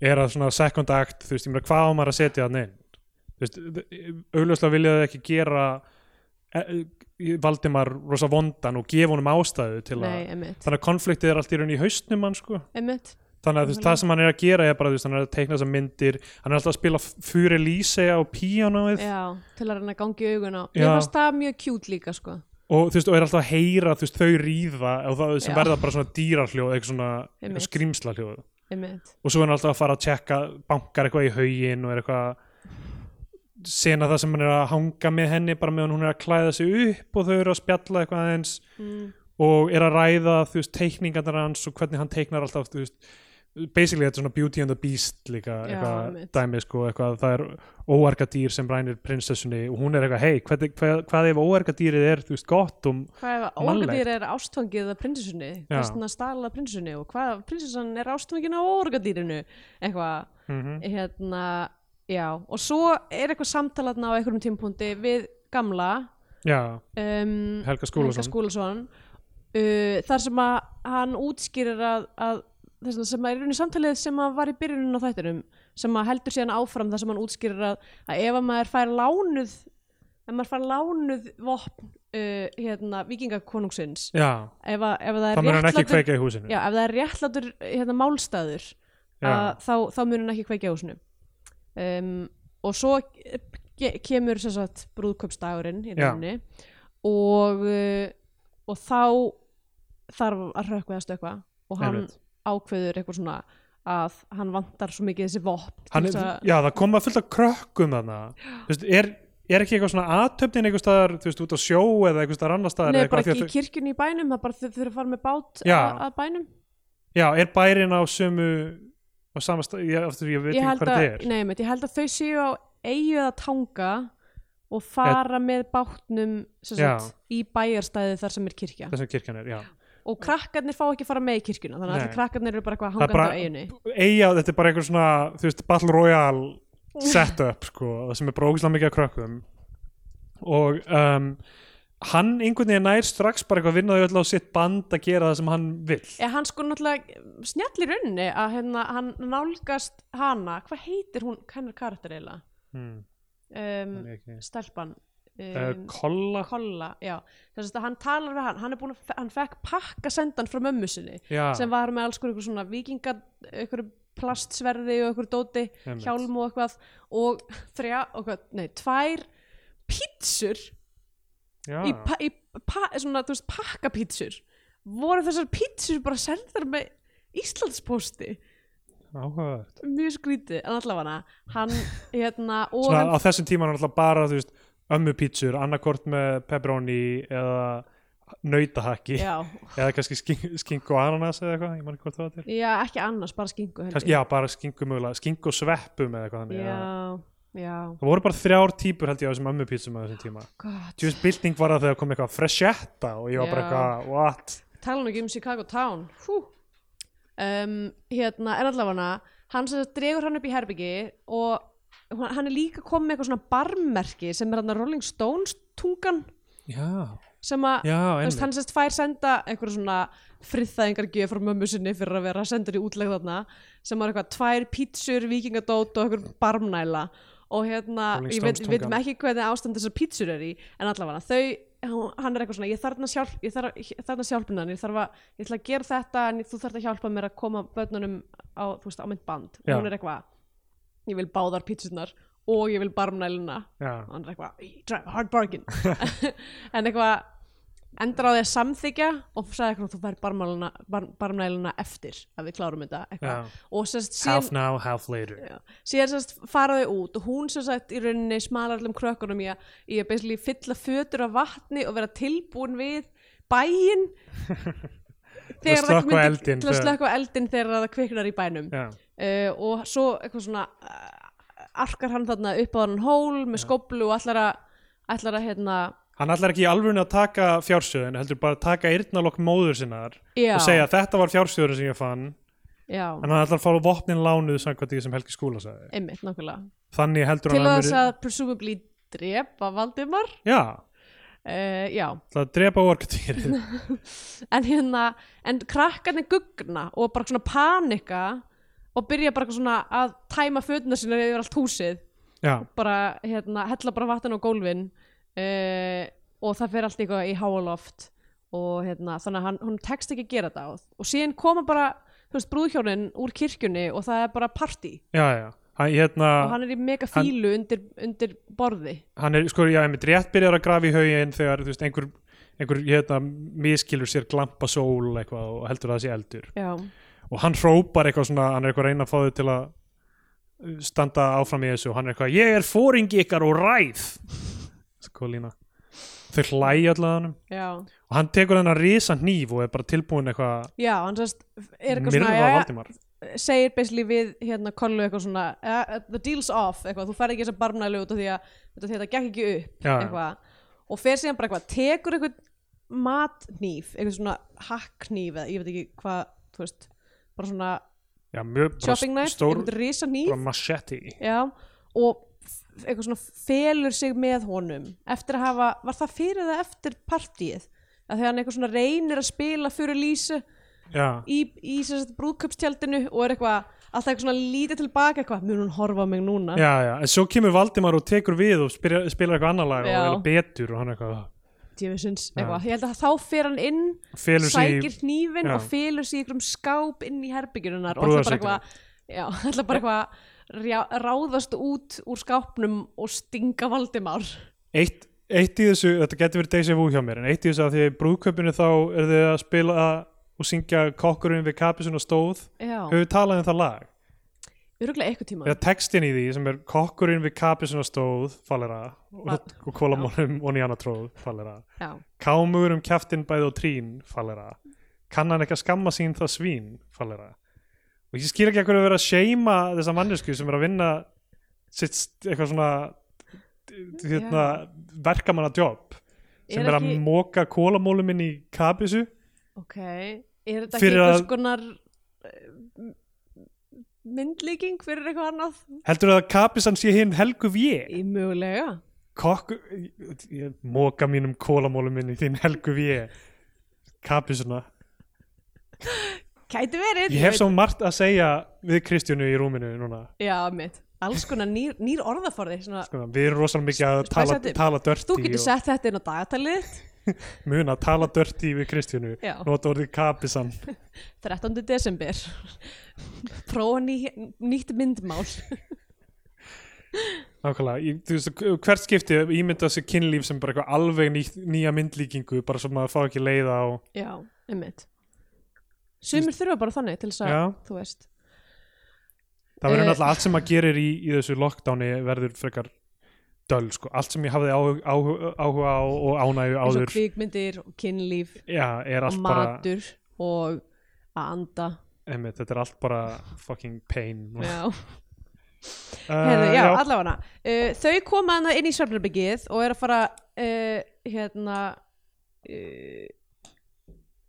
A: er að svona second act þú veist, ég meina hvað á maður að setja þannig inn þú veist, augljóslega vilja þau ekki gera eh, eh, Valdimar rosa vondan og gefa honum ástæðu til
B: Nei,
A: að
B: emitt,
A: þannig að konfliktið er allt í raun í haustnum hann sko
B: emitt
A: þannig að þú veist, það sem hann er að gera er bara þú veist, hann er að teikna þessar myndir hann er alltaf að spila fyrir lýse á píanoið
B: Já, til að reyna að gangi augun á Mér
A: Já.
B: fannst það mjög kjút líka sko
A: og þú veist, og er alltaf að heyra þú veist, þau ríða og það sem
B: Já.
A: verða bara svona dýrarhljóð eitthvað svona
B: Einmitt.
A: skrýmsla hljóð
B: einmitt
A: og svo er hann alltaf að fara að tjekka bankar eitthvað í haugin og er eitthvað að sena það sem hann er að hanga með henni bara meðan hún er að klæða sig upp og þau eru að spjalla eitthvað aðeins
B: mm.
A: og er að ræða þú veist teikningarnar hans og hvernig hann teiknar alltaf þú veist basically þetta er svona Beauty and the Beast líka
B: Já,
A: eitthvað
B: einmitt.
A: dæmi sko eitthvað það er óargadýr sem rænir prinsessunni og hún er eitthvað hei hvað, hvað ef óargadýrið er þú veist gott um
B: Hvað ef
A: Mannlegt.
B: orgadýr er ástfangið af prinsessunni?
A: Já.
B: Hvað er svona stala prinsessunni? Og hvað ef prinsessan er ástfangin af orgadýrinu? Eitthvað,
A: mm
B: hérna, já. Og svo er eitthvað samtalatna á einhverjum tímpúndi við gamla
A: já,
B: um,
A: Helga Skúlason
B: Skúlason uh, þar sem að hann útskýrir að, að þess að sem að er unni samtalið sem að var í byrjunum á þættinum sem að heldur síðan áfram þar sem hann útskýrir að, að ef að maður fær lánuð ef maður fær lánuð vopn uh, hérna, vikingakonungsins
A: já,
B: ef, að, ef, að það
A: þá
B: er
A: mun hann ekki
B: réttlátur-
A: kveika í húsinu
B: já, ef það er réttlátur hérna, málstæður að,
A: já,
B: þá, þá mun hann ekki kveikja á húsinu um, og svo ke- kemur sem sagt brúðköpsdagurinn í
A: Já.
B: rauninni og, uh, og þá þarf að hrökkva eða stökkva og hann
A: Einmitt.
B: ákveður eitthvað svona að hann vantar svo mikið þessi vopn
A: Hann er,
B: til þess að-
A: já, það koma fullt af krökkum þarna Þú veist, er, er ekki eitthvað svona aðtöfnin einhver staðar, þú veist, út á sjó eða einhver staðar annar staðar
B: Nei,
A: eða
B: bara
A: eitthvað, af því
B: ekki
A: að
B: í kirkjunni í bænum, það bara þau þurfa að fara með bát
A: Já.
B: að, að bænum.
A: þau- já, er bærin á sömu á sama stað, ég, aftur, ég veit
B: Ég
A: ekki
B: held,
A: hvað
B: að,
A: þetta er
B: nei, meit, ég held að þau séu á eigu eða tanga og fara með bátnum sem
A: Já.
B: sagt, í bæjarstæði þar sem er kirkja.
A: þessum kirkjan er, já
B: og krakkarnir fá ekki að fara með í kirkjuna þannig að
A: Nei.
B: allir krakkarnir eru bara eitthvað
A: Það er
B: hangandi
A: bara-
B: á eiginu
A: eiga, þetta er bara einhver svona, þú veist, Battle Royale setup, sko, það sem er brókislega mikið að krökkum og um, hann einhvern veginn nær strax bara eitthvað vinnaði öll á sitt band að gera það sem hann vill
B: eða hann sko náttúrulega snjall í rauninni að hérna, hann nálgast hana hvað heitir hún, hennar karakter eiginlega
A: hmm,
B: um,
A: það er ekki.
B: stelpan
A: Uh,
B: um,
A: kolla
B: kolla, já þess að hann talar við hann, hann er búin að hann fekk pakka sendan frá mömmu sinni
A: já,
B: sem var með alls konar einhver svona vikinga einhver plastsverði og einhver dóti
A: einmitt.
B: hjálm og eitthvað og þrjá, og hvað, nei, tvær pítsur
A: já.
B: í, pa, í pa, eh, svona, þú veist, pakkapítsur voru þessar pítsur bara seldar með Íslandspósti
A: Áhugavert.
B: mjög skrítið, en allavega hann hérna, og
A: Svona,
B: hann
A: á þessum tíma er hann alltaf bara þú veist, ömmu pítsur, annarkort með pepperoni eða nautahakki
B: já,
A: eða kannski skink, skink og ananas eða eitthvað, ég man ekki hvort það var til
B: já, ekki annars, bara skingu held
A: kannski, já, bara skinku mögulega, skink og sveppum eða eitthvað
B: ég.
A: þannig, eða-
B: já, já,
A: það voru bara þrjár típur held ég á þessum ömmu pítsum á þessum tíma
B: gott
A: tjóðis bylting var það þegar kom eitthvað freshetta og ég var bara
B: Já.
A: eitthvað, what
B: tala nú ekki um Chicago Town Hú. um, hérna, en allavega hann sem sagt dregur hann upp í herbyggi og hann hann er líka komið með eitthvað svona barmerki sem er hann Rolling Stones tungan
A: já,
B: sem að
A: já,
B: Þú veist,
A: einmitt
B: hann sérst fær senda einhver svona friðþæðingar gjöf frá mömmu sinni fyrir að vera sendur í útlegð þarna sem var eitthvað tvær pítsur, vikingadót og einhver barmnæla og hérna,
A: Rolling
B: ég veit,
A: Stones
B: veitum
A: tungan.
B: ekki hvernig ástand þessar pítsur er í, en allavega þau hún- hann er eitthvað svona, ég þarna sjálf ég þarf að- þarna sjálfinan, ég þarf að, ég ætla að gera þetta en þú þarf að hjálpa mér að koma börnunum á, þú veist, á mynd band og
A: Já.
B: hún er eitthvað, ég vil báðar pítsurnar og ég vil barmnælina
A: já,
B: og hann er eitthvað, "You drive a hard bargain en eitthvað endur á því að samþykja og sagði eitthvað þú fær barmæluna, bar, barmæluna eftir að við klárum þetta
A: já,
B: eitthvað og sérst
A: half
B: síðan,
A: now, half later
B: já, síðan sérst faraði út og hún sérst í rauninni smalar allum krökkunum í að, í að basically fylla fötur af vatni og vera tilbúin við bæinn
A: Til að
B: það
A: slökkva
B: myndi-
A: eldinn
B: til að
A: þegar-
B: slökka eldin þegar það kviknar í bænum
A: já,
B: uh, og svo eitthvað svona uh, arkar hann þarna upp á hann hól með skóplu og ætlar að ætlar að hérna
A: hann ætlar ekki í alvörinu að taka fjársöðin heldur bara að taka yrnalokk móður sinnar
B: já,
A: og segja þetta var fjársjóðurinn sem ég fann
B: já,
A: en hann ætlar að fara vopnin lánuð samkvæmt því sem Helgi Skúla sagði
B: einmitt nákvæmlega
A: þannig heldur
B: til
A: hann
B: þess að presumably drepa Valdimar
A: já,
B: uh, já,
A: það drepa orkutýrið
B: en hérna en krakkarnir guggna og bara svona panika og byrja bara eitthvað svona að tæma fötuna sína yfir allt húsið
A: já,
B: bara hérna, hella bara vatn á gólfin uh, og það fer allt eitthvað í háaloft og hérna, þannig að hann, hún tekst ekki að gera þetta og, og síðan koma bara, þú veist, brúðhjónin úr kirkjunni og það er bara partí
A: já, já hann, hérna,
B: og
A: hann,
B: hann er í mega fílu undir, undir borði
A: er sko, já, einmitt rétt byrjar að grafa í haugin þegar, þú veist, einhver einhver, hérna, miskilur sér glampa sól eitthvað og heldur að það sé eldur
B: já,
A: og hann hrópar eitthvað svona, hann er eitthvað að reyna að fá þau til að uh, standa áfram í þessu og hann er eitthvað, ég er fóringi ykkar og ræð sko lína þau hlæja alltaf hann
B: já,
A: og hann tekur þennan risa hníf og er bara tilbúin eitthvað
B: já, hann sérst er eitthvað svona,
A: myrða
B: já,
A: Valdimar
B: já, segir basically við hérna kollu eitthvað svona uh, the deal's off, eitthvað, þú ferð ekki þess að barnælu út af því að þetta, þetta gekk ekki upp
A: Já, já.
B: eitthvað, og fer síðan bara eitthvað tekur eitthvað matnýf eitthvað svona hakknýf eða ég veit ekki hvað, þú veist bara svona
A: já, mjög bara
B: shopping knife,
A: stór
B: eitthvað risa
A: bara machete
B: já, og f- eitthvað svona felur sig með honum eftir að hafa, var það fyrir eða eftir partíið, að þegar hann eitthvað svona reynir að spila fyrir Lísu
A: já,
B: í, í sem sagt brúðköpstjaldinu og er eitthvað, alltaf eitthvað svona lítið tilbaka eitthvað, mun hún horfa á mig núna
A: já, já, en svo kemur Valdimar og tekur við og spyrir, spilar eitthvað annar lag og
B: Já.
A: er betur og hann eitthvað
B: djöfisins,
A: Já.
B: eitthvað, ég held að þá fer hann inn
A: felur sig í
B: sækir hnífin
A: Já.
B: og felur sig í einhverjum skáp inn í herbyggjunnar og ætla bara
A: Brúðarsetrinu.
B: eitthvað já, ætla bara eitthvað rjá- ráðast út úr skápnum og stinga Valdimár
A: eitt, eitt í þessu, þetta getur verið Deja Vu hjá mér, en eitt í þessu að því að í brúðkaupinu þá er þið að spila og syngja kokkurinn við kapisun og stóð
B: já,
A: höfum við talað um það lag
B: öruglega eitthvað tíma
A: eða textin í því sem er kokkurinn við kapisun og stóð fallera
B: Va-
A: og, og kólamónum og nýjana tróð fallera
B: já,
A: kámugur um kjaftin bæði og trín fallera kann hann ekki að skamma sín það svín fallera og ég skil ekki að hverju er verið að seima þessa mannesku sem er að vinna sitt st- eitthvað svona hérna, verkamanna jobb sem
B: Er
A: er, að
B: ekki-
A: móka kólamólum inn í kapisu
B: ok er þetta
A: Fyrir
B: ekki einhvers
A: að-
B: konar eh, m- myndlíking fyrir eitthvað annað
A: heldur að kapisan sé hinn helgu vjeg
B: í mögulega
A: kokku ég móka mínum kólamólum inn í þín helgu við kapisuna
B: gæti verið
A: ég hef svo margt að segja við Kristjánu í rúminu núna
B: já mitt alls konar nýr, nýr orðaforði svona,
A: Skoðum, Sko, við erum rosalega mikið að tala,
B: Spæsandi.
A: tala
B: þú
A: dörti
B: getur sett þetta inn á dagatalið þitt.
A: og muna tala dörti við Kristjánu
B: Já.
A: nota orðið kapisan
B: 13. desember prófa ný, nýtt myndmál
A: nákvæmlega, ég, þú veist, hvert skipti ímynda sér kynlíf sem bara eitthvað alveg ný, nýja myndlíkingu, bara svo maður fá ekki leiða á
B: já, einmitt sumir þurfa bara þannig til þess að
A: Já.
B: þú veist
A: það verður
B: Eh.
A: náttúrulega allt sem maður gerir í, í þessu lockdowni verður frekar döl, sko, allt sem ég hafði áhuga, áhuga, áhuga á og ánægju
B: eins og
A: áður
B: kvikmyndir og kynlíf
A: Já, er
B: og
A: allt bara
B: matur og að anda
A: einmitt, Þetta er allt bara fucking pain uh,
B: já Herðu, já,
A: já,
B: allavega uh, þau koma hana inn í svefnarbyggið og er að fara uh, hérna uh,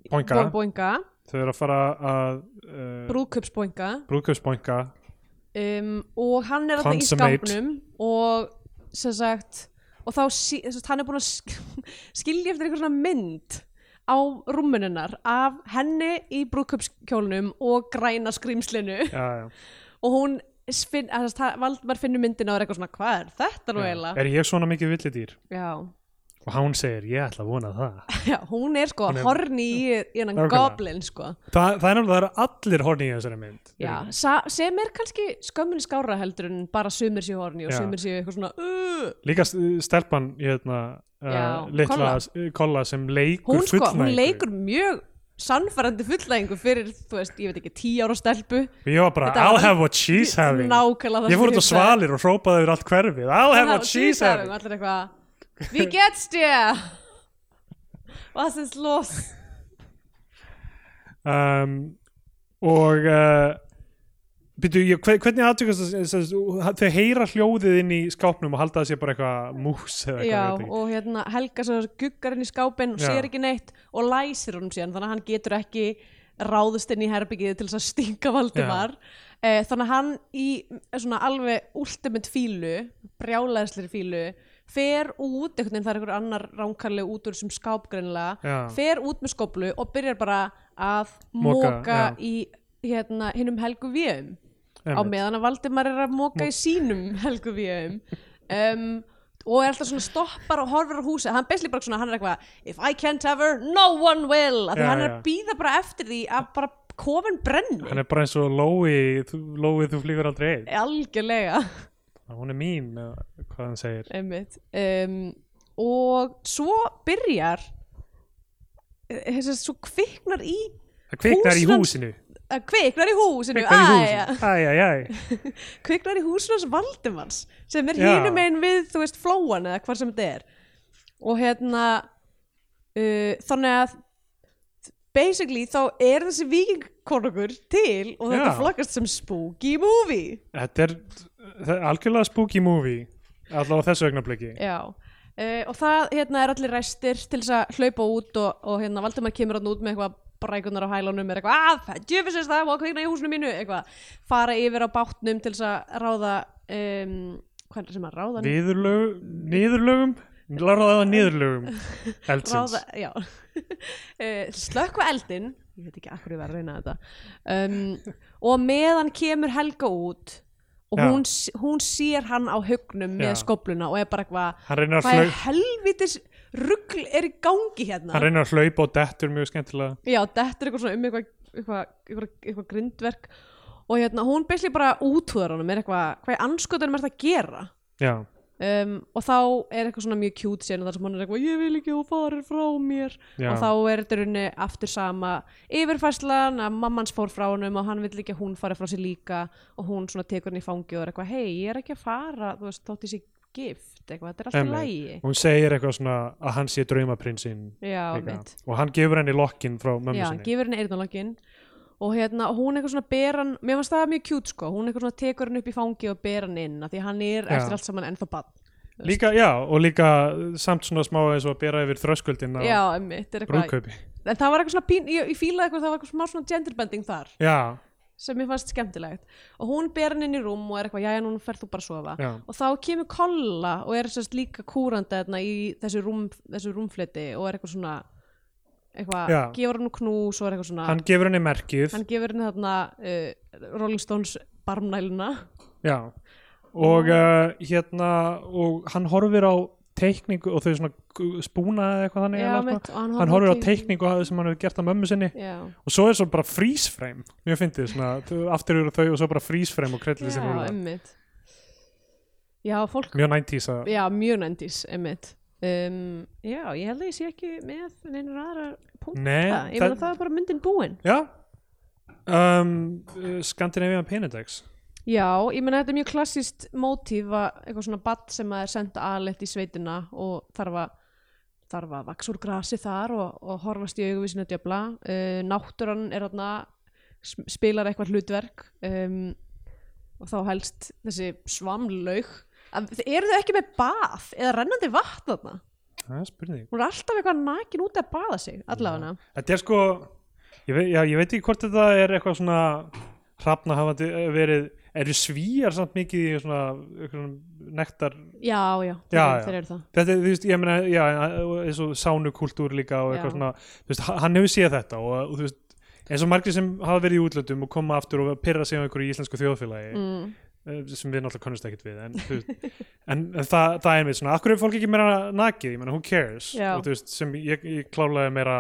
A: Boinga.
B: bo- boinga
A: Þau eru að fara að uh,
B: brúðköpsboinga
A: brúðkaupsbónga
B: um, og hann er alltaf í
A: Consummate.
B: skápnum og sem sagt og þá, sí- sem sagt, hann er búin að sk- skilja eftir einhver svona mynd á rúmmuninnar af henni í brúðköpskjólnum og græna skrýmslinu
A: já, já.
B: og hún s- finn, að, það, Valdmar finnur myndina og er eitthvað svona hvað er þetta nú eiginlega
A: Er ég svona mikið villidýr?
B: já,
A: Og hann segir, ég ætla að vona það
B: já, hún er sko
A: Hún er-
B: horni í í hennan
A: Nákvæmlega.
B: goblin sko
A: Þa, Það er náttúrulega það eru allir horni í þessari mynd
B: já, sa, sem er kannski skömmin skára heldur en bara sumir séu horni og
A: Já.
B: sumir séu eitthvað svona uh,
A: Líka s- stelpan í hérna
B: Já,
A: uh, litla
B: Kolla.
A: kolla. kolla sem leikur
B: hún sko, hún
A: fullnægingu.
B: leikur mjög sannfærandi fullnægingu fyrir, þú veist, ég veit ekki, tíu ára stelpu
A: Ég var bara,
B: Þetta var-
A: I'll have what she's having
B: nákvæmlega það
A: Ég fór út á
B: sem ég hugsaði.
A: svalir og hrópaði yfir allt hverfið I'll have
B: Hún
A: what
B: hafði
A: she's
B: having,
A: having
B: og allir eitthvað við getst ég was is los
A: um, og uh, byrju, ég, hve- hvernig aðtökast þau heyra hljóðið inn í skápnum og halda það sé bara eitthvað mús eða eitthvað,
B: já,
A: ég veit ekki.
B: og hérna Helga svo guggar inn í skápinn og
A: Já.
B: sér ekki neitt og læsir honum síðan þannig að hann getur ekki ráðust inn í herbyggið til þess að stinga Valdimar eh, þannig að hann í svona alveg ultimate fílu brjálæðslir fílu fer út, einhvern veginn það er einhver annar ránkarleg út úr sem skápgreinlega
A: Já.
B: fer út með skóplu og byrjar bara að
A: Moka,
B: móka,
A: já.
B: í hérna, hinnum Helgu Víum á
A: Einmitt.
B: meðan að Valdimar er að móka í sínum helgu við um, og er alltaf svona stoppar og horfir á húsið, hann beisli bara svona hann er eitthvað, if I can't have her, no one will af því
A: Já,
B: hann er
A: já.
B: að býða bara eftir því að bara kofin brenni
A: hann er bara eins og Lói þú, Lói þú flýgur aldrei
B: Eh.
A: einn
B: algjörlega
A: hún er mín, eða hvað hann segir
B: einmitt um, og svo byrjar eh, þessi, svo kviknar í
A: það kviknar í
B: Hús hans-
A: húsinu
B: Það kviknar í húsinu, Ah,
A: Kviknar í
B: æ,
A: húsinu. Æ, æ, æ.
B: ja. kviknar í húsinu hans Valdimanns sem er
A: Já.
B: hínum einn við, þú veist, flóan eða hvað sem þetta er og hérna uh, þannig að basically þá er þessi vikingkonungur til og þetta
A: Já.
B: flaggast sem spooky movie
A: Þetta er það er algjörlega spooky movie allavega á þessu augnabliki
B: Já, uh, og það hérna er allir ræstir til þess að hlaupa út og, og hérna Valdimar kemur hann út með eitthvað brækunar á hælunum er eitthvað að, það djöfisins það, og kveikna í húsinu mínu eitthvað, fara yfir á bátnum til þess að ráða um, hvað er það sem að ráða?
A: Niðurlög, niðurlögum Lára það að niðurlögum Eldsins
B: ráða já uh, slökkva eldin ég veit ekki akkur ég verð að reyna þetta um, og meðan kemur Helga út og
A: Já.
B: hún, s- hún sér hann á hugnum með
A: Já.
B: skobluna og er bara eitthvað
A: Hann reynir að
B: hvað er
A: flaug-
B: helvitis rugl er í gangi hérna
A: Hann reynir að hlaupa og dettur mjög skemmtilega
B: já, þetta er eitthvað svona um eitthvað eitthvað, eitthvað, eitthvað grindverk og hérna, hún beisli bara útúðar honum er eitthvað, hvað er anskotunum er þetta að gera
A: Já,
B: um, og þá er eitthvað svona mjög cute sérna þar sem hann er eitthvað, ég vil ekki að hún farir frá mér
A: já,
B: og þá er þetta í rauninni aftur sama yfirfærslan að mammans fór frá honum og hann vill ekki að hún fari frá sér líka og hún svona tekur hann í fangi og er eitthvað hei, ég er ekki að fara, þú veist, þótt ég sé gift eitthvað, þetta er alltaf
A: Einmitt.
B: lægi
A: Hún segir eitthvað svona að hann sé draumaprinsinn
B: já,
A: líka.
B: mitt
A: og hann gefur henni lokkin frá mömmu
B: já,
A: sinni
B: gefur henni eyrnalokkin og hérna, og hún eitthvað svona ber hann mér finnst það mjög kjút sko, hún eitthvað svona tekur hann upp í fangi og ber hann inn, af því hann er
A: Já.
B: eftir allt saman ennþá bann
A: líka, já, og líka samt svona smá eins og að bera yfir þröskuldin
B: já,
A: á
B: mitt, er eitthvað
A: brúðkaupi
B: en það var eitthvað svona pín, ég, ég fílaði eitthvað, það var eitthvað smá svona genderbending þar
A: Já,
B: sem mér fannst skemmtilegt og hún ber hann inn í rúm og er eitthvað, jæja, núna ferð þú bara að sofa
A: já,
B: og þá kemur kolla og er sérst líka kúranda þarna í þessu, rúm, þessu rúmfliti og er eitthvað svona eitthvað,
A: Já.
B: gefur hann knús og er eitthvað svona
A: hann gefur henni merkið
B: Ah. hann gefur henni þarna uh, Rolling Stones barmnæluna
A: Já, og uh, hérna og hann horfir á teikningu og þau svona gu- spúna eða eitthvað þannig
B: Já,
A: eiginlega,
B: mitt, og hann
A: hann horfir á
B: teikningu.
A: teikningu að- sem hann hefur gert á mömmu sinni
B: já,
A: og svo er svo bara freeze frame mjög fyndið, svona, þau- aftur eru þau og svo bara freeze frame og krellið
B: já
A: sem rúla
B: emmitt já, fólk
A: mjög 90s að
B: já, mjög nændís, emmitt um, já, ég held að ég sé ekki með neinar aðra punkta
A: Nei,
B: ég meina það er bara myndin búin
A: Já um, uh, Scandinavian Penedex
B: já, ég meina þetta er mjög klassist mótíf að eitthvað svona badd sem að er sendt aðlegt í sveitina og þarf að þarf að vaks úr grasi þar og, og horfast í augu við sinna djöfla uh, náttúran er þarna sm- spilar eitthvað hlutverk um, og þá helst þessi svamlaug Að- eru þau ekki með bath eða rennandi vatn þarna
A: Það er spurning
B: hún er alltaf eitthvað nakin út að baða sig allavega
A: Þetta er sko ég veit, já, ég veit ekki hvort þetta er eitthvað svona hrafna hafandi verið eru svíjar samt mikið í svona, svona nektar
B: já, já,
A: Já,
B: þeir-
A: já.
B: þeir eru það
A: þetta, er, þú veist, ég meina, já, og eins og sánukúltúr líka og
B: Já.
A: eitthvað svona, þú veist, ha- hann hefur séð þetta og, og þú veist, eins og margir sem hafa verið í útlöndum og koma aftur og pyrra sig á einhverju í íslensku þjóðfélagi
B: mm.
A: eh, sem við náttúrulega kannast ekkert við en, þú veist, en það, það er mér svona, akkur er fólk ekki meira nakið, ég meina, who cares
B: Já.
A: og þú veist, sem ég, ég klálega meira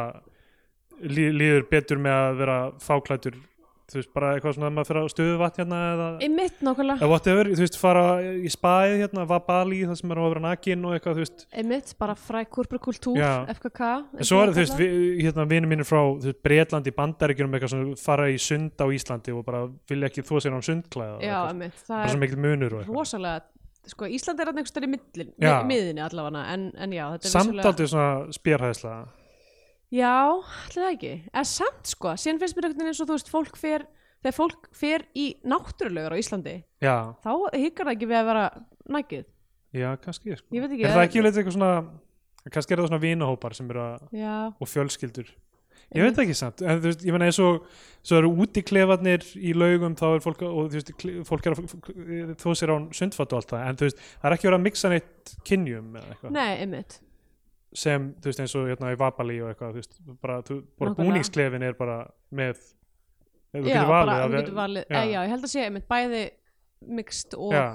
A: lí, líður betur með að vera fáklætur, þú veist, bara eitthvað svona að maður fyrir á stöðu vatn hérna eða
B: einmitt nákvæmlega,
A: eða whatever, þú veist, fara í spaðið hérna, vabali, það sem er að vera nakin og eitthvað, þú veist,
B: einmitt, bara fræ korporakultúr,
A: Já.
B: FKK
A: En svo er þú veist, við, hérna vinur mínir frá þú veist, Breitlandi bandaríkjunum eitthvað sem fara í sund á Íslandi og bara vilja ekki þó sér án sundklæða og
B: já,
A: eitthvað. sko.
B: einmitt, það
A: bara
B: er
A: svo mikil munur og eitthvað
B: rosalega sko, Ísland er einhvers stær í miðlin,
A: Já.
B: miðinni allavega en, en já, þetta er
A: samt
B: vissulega-
A: aldrei svona spjærhæðsla
B: já, allir það ekki, en samt sko síðan finnst mér einhvern veginn eins og þú veist, fólk fer þegar fólk fer í náttúrulegar á Íslandi
A: já,
B: þá hikar það ekki við að vera nægið,
A: já, kannski sko.
B: ég veit ekki
A: er það ekki leitt eitthvað svona kannski er það svona vinahópar sem eru að
B: já,
A: og fjölskyldur ég veit ekki samt, en þú veist, ég meina eins og svo eru úti klefarnir í laugum þá er fólk, og þú veist, kle- fólk er að eh, þó sér án sundfatt og allt það en þú veist, það er ekki verið að mixa neitt kynjum eða eitthvað
B: nei, einmitt
A: sem, þú veist, eins og hérna í Vapali og eitthvað, þú veist, bara, þú, bara
B: Nákvæmlega.
A: búningsklefin er bara með ef þú
B: já,
A: getur valið
B: bara,
A: að
B: þú
A: ve-
B: getur valið,
A: já,
B: Eh, já, ég held að sé einmitt bæði mixt og
A: já,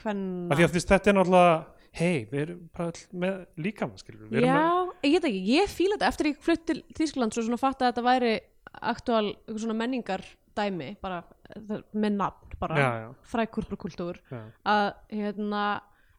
B: kvenna
A: af því að þú veist, þetta er náttúrulega hei, við erum bara all, með líkamann skilur, við
B: Já,
A: erum að,
B: ég get ekki, ég fíla þetta eftir ég flutt til Þýskaland svo svona fatt að þetta væri aktúal einhver svona menningar dæmi bara eh, það- með nafn bara
A: já, já,
B: frækurbrakultúr
A: já,
B: að hérna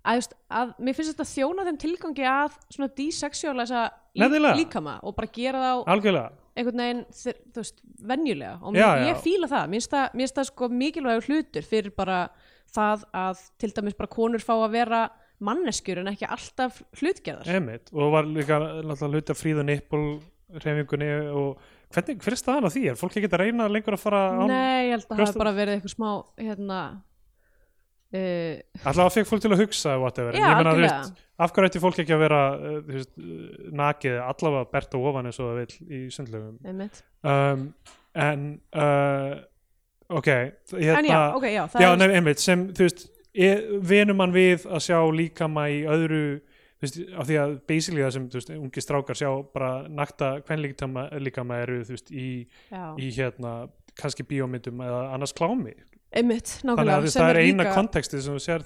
B: að, just, að mér finnst þetta þjóna þeim tilgangi að svona desexualiza lí,
A: Nefnilega.
B: líkama og bara gera þá
A: algjörlega
B: einhvern veginn, þeir- þú veist, venjulega
A: Já,
B: og
A: já.
B: mér, ég fíla það, mér finnst það, mér finnst það sko mikilvægur hlutur fyrir bara það að til dæmis bara konur fá að vera manneskjur en ekki alltaf hlutgerðar
A: Emmett, og var líka náttúrulega hluti að fríða nippul reyfingunni og hvernig, hver er staðan á því? Er fólk ekki að reyna lengur að fara án?
B: Nei, ég held að það
A: brjóstum-
B: hafi bara verið eitthvað smá hérna uh,
A: Alltaf fekk fólk til að hugsa whatever. en
B: Já,
A: ég meina, þú
B: algjörlega.
A: veist, af hverju ætti fólk ekki að vera uh, þú veist, uh, nakið allavega bert og ofan eins og það vil í sundlöfum
B: einmitt
A: um, en uh, ok hérna,
B: En já, ok, já, það
A: já,
B: er
A: nei, einmitt, sem þú veist e- venur mann við að sjá líkama í öðru þú veist, af því að basically það sem þú veist, ungi strákar sjá bara nakta kvenlíkama líkama eru þú veist, í,
B: já.
A: í hérna kannski bíómyndum eða annars klámi
B: einmitt,
A: þannig
B: nákvæmlega
A: að þú veist,
B: sem
A: það
B: er
A: er eina
B: líka-
A: kontekstið sem þú sér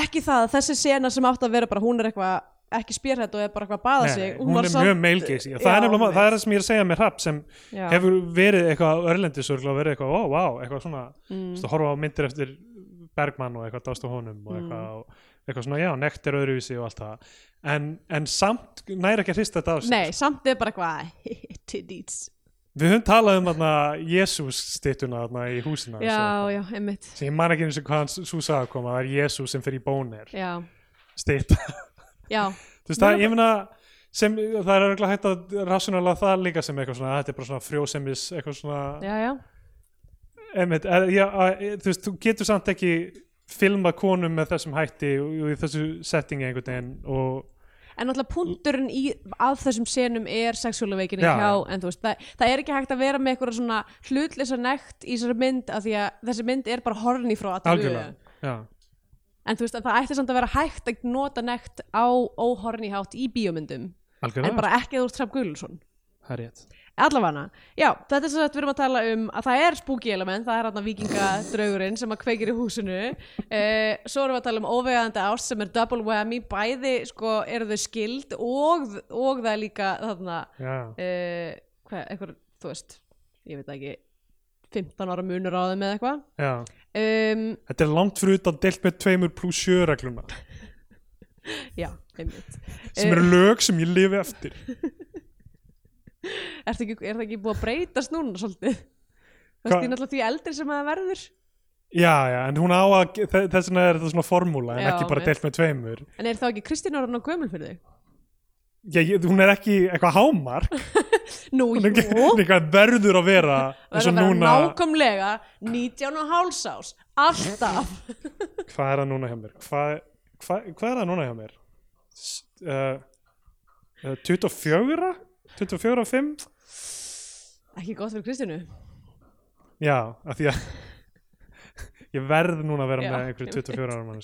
B: ekki það, að þessi sena sem átt að vera bara hún er eitthvað ekki spjörhætt og er bara eitthvað að baða sig
A: hún,
B: var
A: er
B: samt-
A: mjög meilgeisi það, er
B: Já,
A: nefnilega-
B: einmitt.
A: það er það sem ég er að segja með rapp sem
B: Já.
A: hefur verið eitthvað örlendis og verið eitthvað, ó, vá, eitthvað svona
B: Mm. Mm.
A: þú veist, að horfa á myndir eftir Bergmann og eitthvað dást á honum og eitthvað, og eitthvað svona, já, nekt er öðruvísi og allt það en, en samt næri ekki að hrista þetta á sig
B: Nei, samt er bara eitthvað titties.
A: við höfum talað um þarna Jésús styttuna þarna í húsina
B: Já, já, einmitt.
A: sem ég man ekki eins og hvað hans súsa að koma það er Jésús sem fyrir bónir
B: Já,
A: stytta,
B: já,
A: þú veist, það, ég meina sem, það er örgulega hægt að rassjónulega það líka sem eitthvað svona, þetta er bara svona frjósemis eitthvað svona,
B: já, já.
A: Einmitt, er, já, að, e, þú veist, þú getur samt ekki filma konum með þessum hætti og, og í þessu settingi einhvern veginn og
B: En náttúrulega punkturinn í, að þessum senum er sexuálu veikinni
A: Já,
B: hjá, en þú veist, það, það er ekki hægt að vera með eitthvað svona hlutlisa nekt í þessari mynd af því að þessi mynd er bara horni frá aðtölu.
A: algjörlega já.
B: En þú veist, að það ætti samt að vera hægt að nota nekt á óhorni hátt í bíómyndum, en
A: algjörlega,
B: bara ekki að þú ert Trapp Guðlundsson.
A: það er rétt
B: Allavega, já, þetta er sem sagt við erum að tala um að það er spooky element, það er hann vikingadraugurinn sem að kveikir í húsinu uh, Svo erum við að tala um óvegandi ást sem er double whammy, bæði sko eru þau skild og, og það er líka þarna
A: já.
B: uh, hvað, einhver, þú veist, ég veit það ekki 15 ára munur á þeim eða eitthvað
A: Já.
B: um,
A: þetta er langt fyrir utan deilt með tveimur pluss sjö regluna
B: Já, einmitt
A: sem
B: Eh.
A: eru lög sem ég lifi eftir
B: Er það ekki, er það ekki búið að breytast núna svolítið? Það
A: Hvað-
B: er náttúrulega því eldri sem það verður
A: já, já, en hún á að ge- þe- þess vegna er þetta svona formúla en
B: Já,
A: ekki bara
B: einmitt.
A: deilt með tveimur
B: En er þá ekki Kristín Áran á gömul fyrir þig?
A: já, ég, hún er ekki eitthvað hámark
B: Nú,
A: hún er ekki- hún
B: jú
A: er eitthvað verður að vera
B: Það
A: eins
B: er
A: og
B: að vera
A: núna,
B: nákvæmlega 19 og háls ás Alltaf
A: hvað er það núna hjá mér hvað, hvað, hvað er það núna hjá mér S- uh, uh, 24 24 og 5
B: Ekki gott fyrir Kristínu
A: já, af því að ég verð núna að vera
B: Já,
A: með einhverju 24 ára mann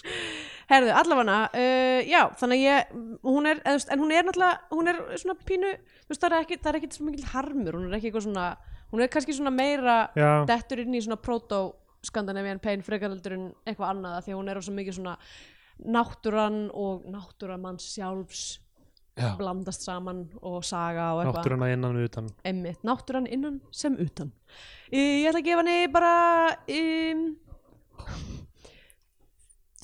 B: Herðu, allavega, uh, já, þannig að ég hún er, eða þú veist, en hún er náttúrulega hún er svona pínu, þú veist, það er ekki það er ekki svo mikil harmur, hún er ekki eitthvað svona hún er kannski svona meira
A: já,
B: dettur inn í svona proto Scandinavian pain frekaraldur en eitthvað annað af því að hún er svo mikið svona náttúran og náttúran manns sjálfs
A: já.
B: blandast saman og saga og eitthvað
A: náttúruna innan og utan
B: Emmitt, náttúran innan sem utan. Í, Ég ætla að gefa henni bara um,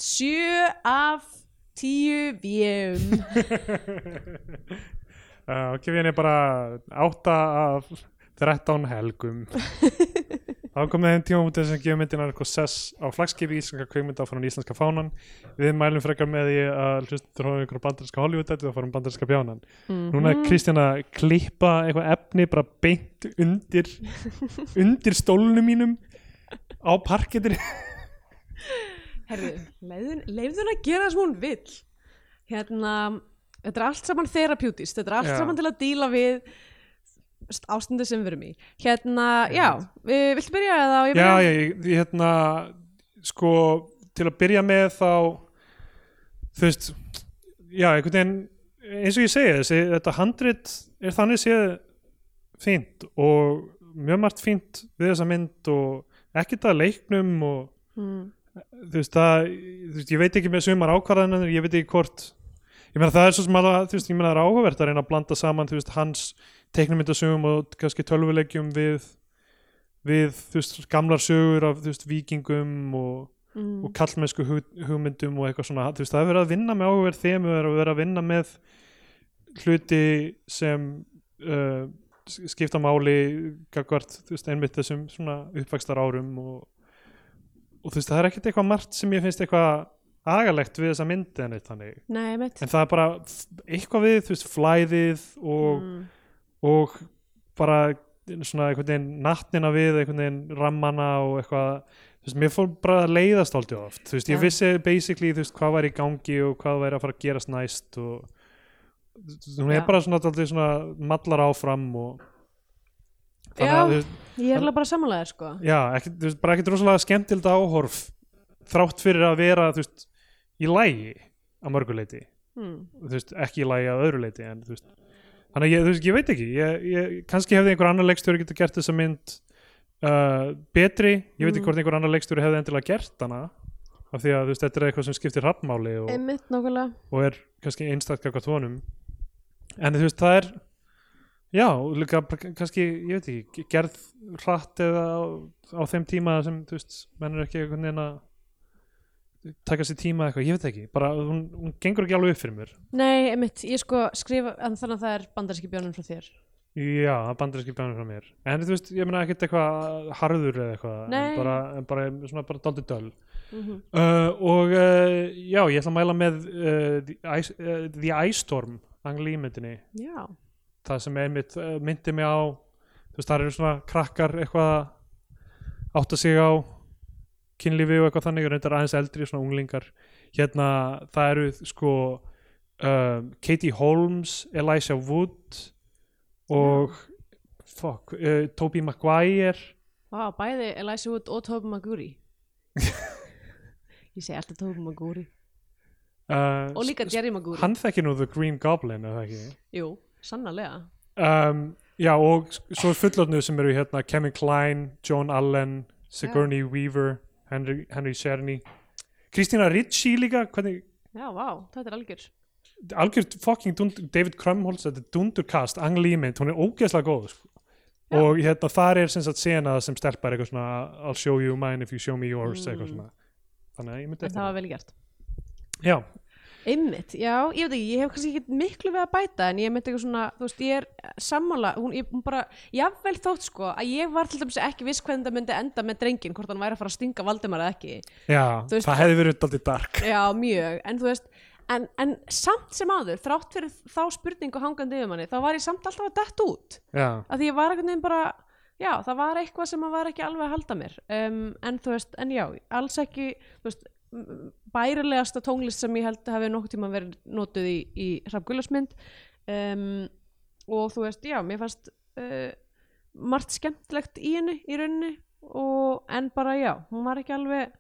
B: sjö af tíu vjum.
A: uh, ok, við henni bara 8 af 13 helgum þá komið þeim tímamútið sem gefur myndin eitthvað sess á flagskipi íslenska kveikmynda frá íslenska fánan við mælum frekar með því að hlustur hóðum ykkur á bandarinska Hollywood-dætið og fórum bandarinska bjánan núna er Kristján að klippa eitthvað efni bara beint undir undir stólnum mínum á parketir
B: Herðu, leiðun, leiðun að gera það sem hún vill. Hérna, þetta er allt saman therapjútist, þetta er allt
A: Já.
B: saman til að díla við st- ástandið sem við erum í. Hérna, já, uh, viltu byrja eða á ég
A: já,
B: byrja?
A: ég, ég hérna sko, til að byrja með þá þú veist já, einhvern veginn eins og ég segi þessi, þetta handrit er þannig séð fínt og mjög margt fínt við þessa mynd og ekkert að leiknum og
B: Mm,
A: þú veist, það, þú veist, ég veit ekki með sumar ákvarðanir, ég veit ekki hvort ég meina það er svo sem að, þú veist, ég meina það er áhugavert að reyna að blanda saman, þú veist, hans teiknumyndasögum og kannski tölvuleikjum við, við, þú veist, gamlar sögur af, þú veist, vikingum og,
B: mm,
A: og kallmennsku hug, hugmyndum og eitthvað svona, þú veist, það er verið að vinna með áhugaverð þeim, það er verið að vinna með hluti sem uh, s- skipta máli gagvart, þú veist, einmitt þessum svona uppvækstar árum og, og þú veist, það er ekkert eitthvað margt sem ég finnst eitthvað agalegt við þessa myndi en eitt þannig,
B: Nei, mitt
A: en það er bara f- eitthvað við, þú veist, flæðið og,
B: mm.
A: og bara svona einhvern veginn nattnina við, einhvern veginn rammana og eitthvað, þú veist, mér fór bara að leiðast aldrei oft, þú veist, ég
B: Já.
A: vissi basically, þú veist, hvað væri í gangi og hvað væri að fara að gerast næst og þú veist, hún
B: Já.
A: er bara svona aldrei svona mallar áfram og þannig
B: Já.
A: að, þú veist,
B: Ég er alveg bara samanlega sko
A: já, ekki, þú veist, bara ekkert rosalega skemmtild áhorf þrátt fyrir að vera, þú veist, í lægi að mörguleiti
B: mm.
A: þú veist, ekki í lagi að öðru leiti en þú veist, þannig að ég, þú veist, ég veit ekki ég, ég, kannski hefði einhver annar leikstjóri getað gert þessa mynd uh, betri, ég veit
B: Mhm.
A: ekki hvort einhver annar leikstjóri hefði endilega gert hana af því að þú veist, þetta er eitthvað sem skiptir hrappmáli og,
B: Einmitt nákvæmlega
A: og er kannski einstakt kakvað tónum en þú veist, það er já, líka bara kann- kannski, ég veit ekki gerð hratt eða á, á þeim tíma sem, þú veist, menn er ekki einhvern veginn að taka sér tíma eitthvað, ég veit ekki, bara hún, hún gengur ekki alveg upp fyrir mér
B: Nei, einmitt, ég sko skrifa en þannig að það er bandarski bjónum frá þér
A: Já, það bandarinski bjánir frá mér En þú veist, ég meina ekkert eitthvað harður eða eitthvað
B: Nei.
A: en bara, en bara, svona bara daldið döl
B: mm -hmm.
A: uh, Og uh, já, ég ætla að mæla með uh, The, Ice, uh, The Ice Storm Angli myndinni
B: Já,
A: Það sem einmitt uh, myndi mig á Þú veist, það eru svona krakkar eitthvað að átta sig á kynlífi og eitthvað þannig og reyndar aðeins eldri, svona unglingar Hérna, það eru sko um, Katie Holmes Elijah Wood og fuck, uh, Toby Maguire
B: vá, bæði Elijah Wood og Tobey Maguri Ég segi alltaf Tobey Maguri
A: uh,
B: Og líka
A: s-
B: Jerry Maguri
A: hann þekki nú The Green Goblin eða ekki
B: Jú, sannarlega
A: um, já og s- svo er fullotnu sem eru hérna Kevin Kline, John Allen Sigourney Weaver, Henry, Henry Czerny Kristina Ricci líka hvernig,
B: Já, vá, þetta er algjör
A: algjör fucking dundur, David Krumholz, þetta er dundurkast Ang Lee mynd, hún er ógeðslega góð sko. og hérna þar er sem sagt sena sem stelpar eitthvað svona I'll show you mine if you show me yours eitthvað
B: Mm.
A: svona þannig að ég myndi
B: En það var vel gert
A: já,
B: Einmitt, já, ég veit ekki, ég hef kannski ekki miklu við að bæta en ég myndi eitthvað svona, þú veist, ég er sammála, hún, ég hún bara, jafnvel þótt sko, að ég var til dæmis ekki viss hvernig þetta myndi enda með drengin, hvort hann væri að fara að stinga Valdimar eða ekki,
A: Já,
B: Þú veist-
A: það hefði verið daldið dark
B: já, mjög, en þú veist, en, en samt sem áður, þrátt fyrir þá spurningu hangandi yfir manni, þá var ég samt alltaf að dett út,
A: Já,
B: að því ég var einhvern veginn bara, já, það var eitthvað sem að var ekki alveg að halda mér, um, en þú veist, en já, alls ekki, þú veist, m- bærilegasta tónlist sem ég held hafi nokkuð tíma verið notuð í, í hrafgulasmynd um, og þú veist, já, mér fannst uh, margt skemmtilegt í henni, í rauninni, og, en bara já, hún var ekki alveg,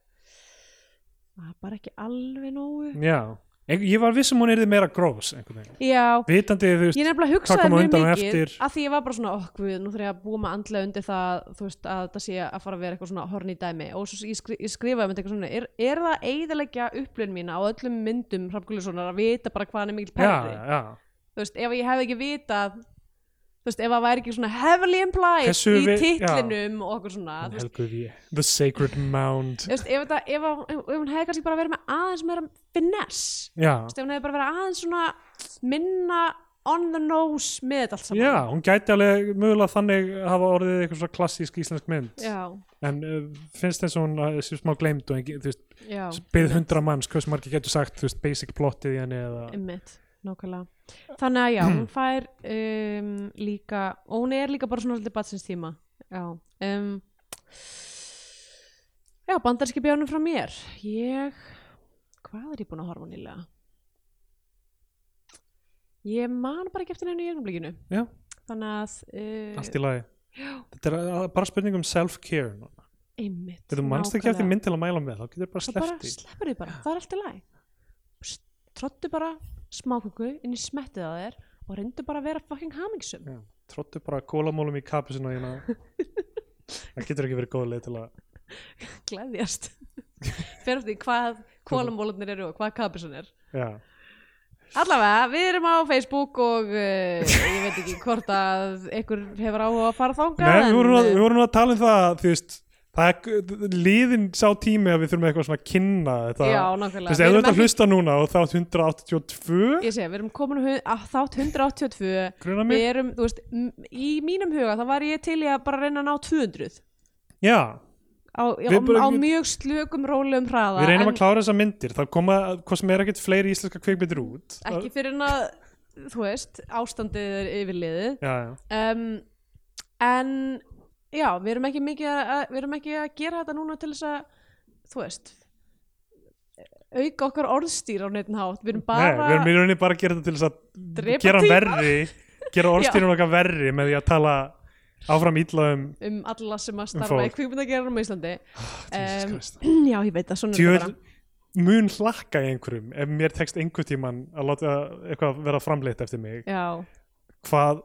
B: var bara ekki alveg nógu.
A: já Ein, Ég var viss um hún erði meira gross einhvern veginn
B: Já,
A: Vitandi, þú
B: ég
A: veist,
B: nefnilega hugsaði
A: kom á
B: mjög
A: undan og
B: mikið
A: eftir?
B: að því ég var bara svona, okk, oh, guð, nú þarf ég að búa maður andlega undir það, þú veist, að það sé að fara að vera eitthvað svona horni dæmi og svo ég, skri, ég skrifaði með eitthvað svona, er, er það eiðilegja upplun mína á öllum myndum Hrafngulissonar að vita bara hvað hann er mikil
A: já,
B: perri
A: já
B: þú veist, ef ég hefði ekki vitað þú veist, ef það væri ekki svona heavily implied
A: Hversu
B: í
A: vi-
B: titlinum og okkur svona,
A: Hún
B: þú veist,
A: helguð ég The Sacred Mound
B: þú veist, ef, þetta, ef, að- ef, ef hún hefði kannski bara verið með aðeins meira finesse
A: Já,
B: Þú veist, ef hún hefði bara verið aðeins svona minna on the nose með þetta allt saman
A: já, hún gæti alveg mögulega þannig hafa orðið eitthvað svona klassísk íslensk mynd
B: Já,
A: En uh, finnst eins og hún uh, sé smá gleymd og engin, þú veist,
B: já,
A: byggð hundra manns hversu margir getur sagt, þú veist, basic plotið í henni eða
B: einmitt, nákvæmlega Þannig að já, hún fær um, líka, og hún er líka bara svona svolítið batsins tíma Já, um, já bandarski bjánum frá mér Ég, hvað er ég búin að horfa á nýlega? Ég man bara ekki eftir neinu í augnablikinu
A: Já.
B: Þannig að uh,
A: allt í lagi Þetta er uh, bara spurning um self-care núna.
B: einmitt
A: Ef þú manst ekki
B: nákvæmlega.
A: eftir mynd til að mæla með þá getur bara
B: þá bara
A: sleppti
B: sleppur því bara, það er allt í læg trottu bara smáköku inn í smettið á þér og reyndu bara að vera fucking hamingsum
A: tróttu bara kólamólum í kapusina þína það getur ekki verið góð leið til að
B: gleðjast fyrir því hvað kólumólunir eru og hvað kapisun er
A: já,
B: allavega, við erum á Facebook og uh, ég veit ekki hvort að einhver hefur áhuga á að fara þangað
A: Nei, við, vorum að,
B: en,
A: við vorum að tala um það þú veist, það er liðin sá tími að við þurfum eitthvað svona að kynna þetta
B: já,
A: þú
B: nákvæmlega
A: veist, ef
B: Við
A: þú
B: erum
A: ert að
B: ekki-
A: hlusta núna og þátt 182
B: ég sé, við erum komin á hu- að þátt 182
A: gruna
B: við
A: mig,
B: erum, þú veist, m- í mínum huga þá var ég til í að bara reyna að ná 200
A: já,
B: á, á,
A: Við bara-
B: á mjög slökum rólegum hraða
A: við reynum
B: en
A: að klára þessar myndir þá koma, hvað sem er ekkert fleiri íslenska kvikmyndir út
B: ekki fyrir en að þú veist, ástandið er yfirliðið
A: já, já,
B: um, en já, við erum ekki mikið að, að- við erum ekki að gera þetta núna til þess að þú veist auka okkar orðstýr á neittn hátt við erum bara
A: nei, við erum í rauninni bara að gera þetta til þess að
B: Drepa
A: gera hann
B: tíma.
A: verri gera orðstýrun okkar verri með því að tala áfram ítla um
B: um alla sem að
A: Um
B: starfa í
A: fólk.
B: kvikmyndagerðanum á Íslandi
A: Jesus
B: Em,
A: Christ.
B: já, ég veit það, svona er þetta
A: Tjöfull mun hlakka í einhverjum ef mér tekst einhver tíman að láta eitthvað vera framleitt eftir mig
B: bara já,
A: hvað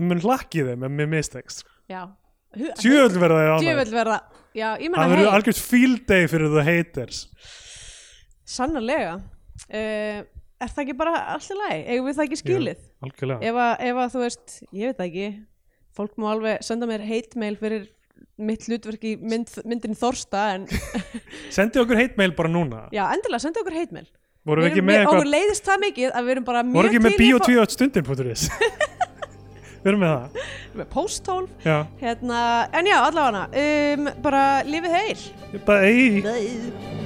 A: mun hlakki í þeim ef mér mistekst
B: já
A: Tjöfull verða það
B: djöfull verða já, ég
A: Það
B: menna,
A: verður
B: hei,
A: algjört field day fyrir the haters
B: sannarlega uh, er það ekki bara allt í lagi eigum við það ekki skilið
A: Algjörlega
B: ef að, ef að þú veist, ég veit það ekki fólk má alveg senda mér hate mail fyrir mitt hlutverk í mynd, myndin Þorsta en
A: Sendi okkur hate mail bara núna
B: já, endilega senda okkur hate mail
A: Vorum við
B: Við
A: ekki
B: erum
A: með
B: mjög- okkur
A: eitthvað
B: leiðist það mikið að við erum bara
A: Vorum
B: mjög
A: ekki með
B: til í
A: bíó
B: að fá-
A: 28 stundin.is Við erum með það
B: með posthólf
A: Já
B: hérna, en já, allavega um, bara lifið heil
A: Ég bara, ei
B: Bye.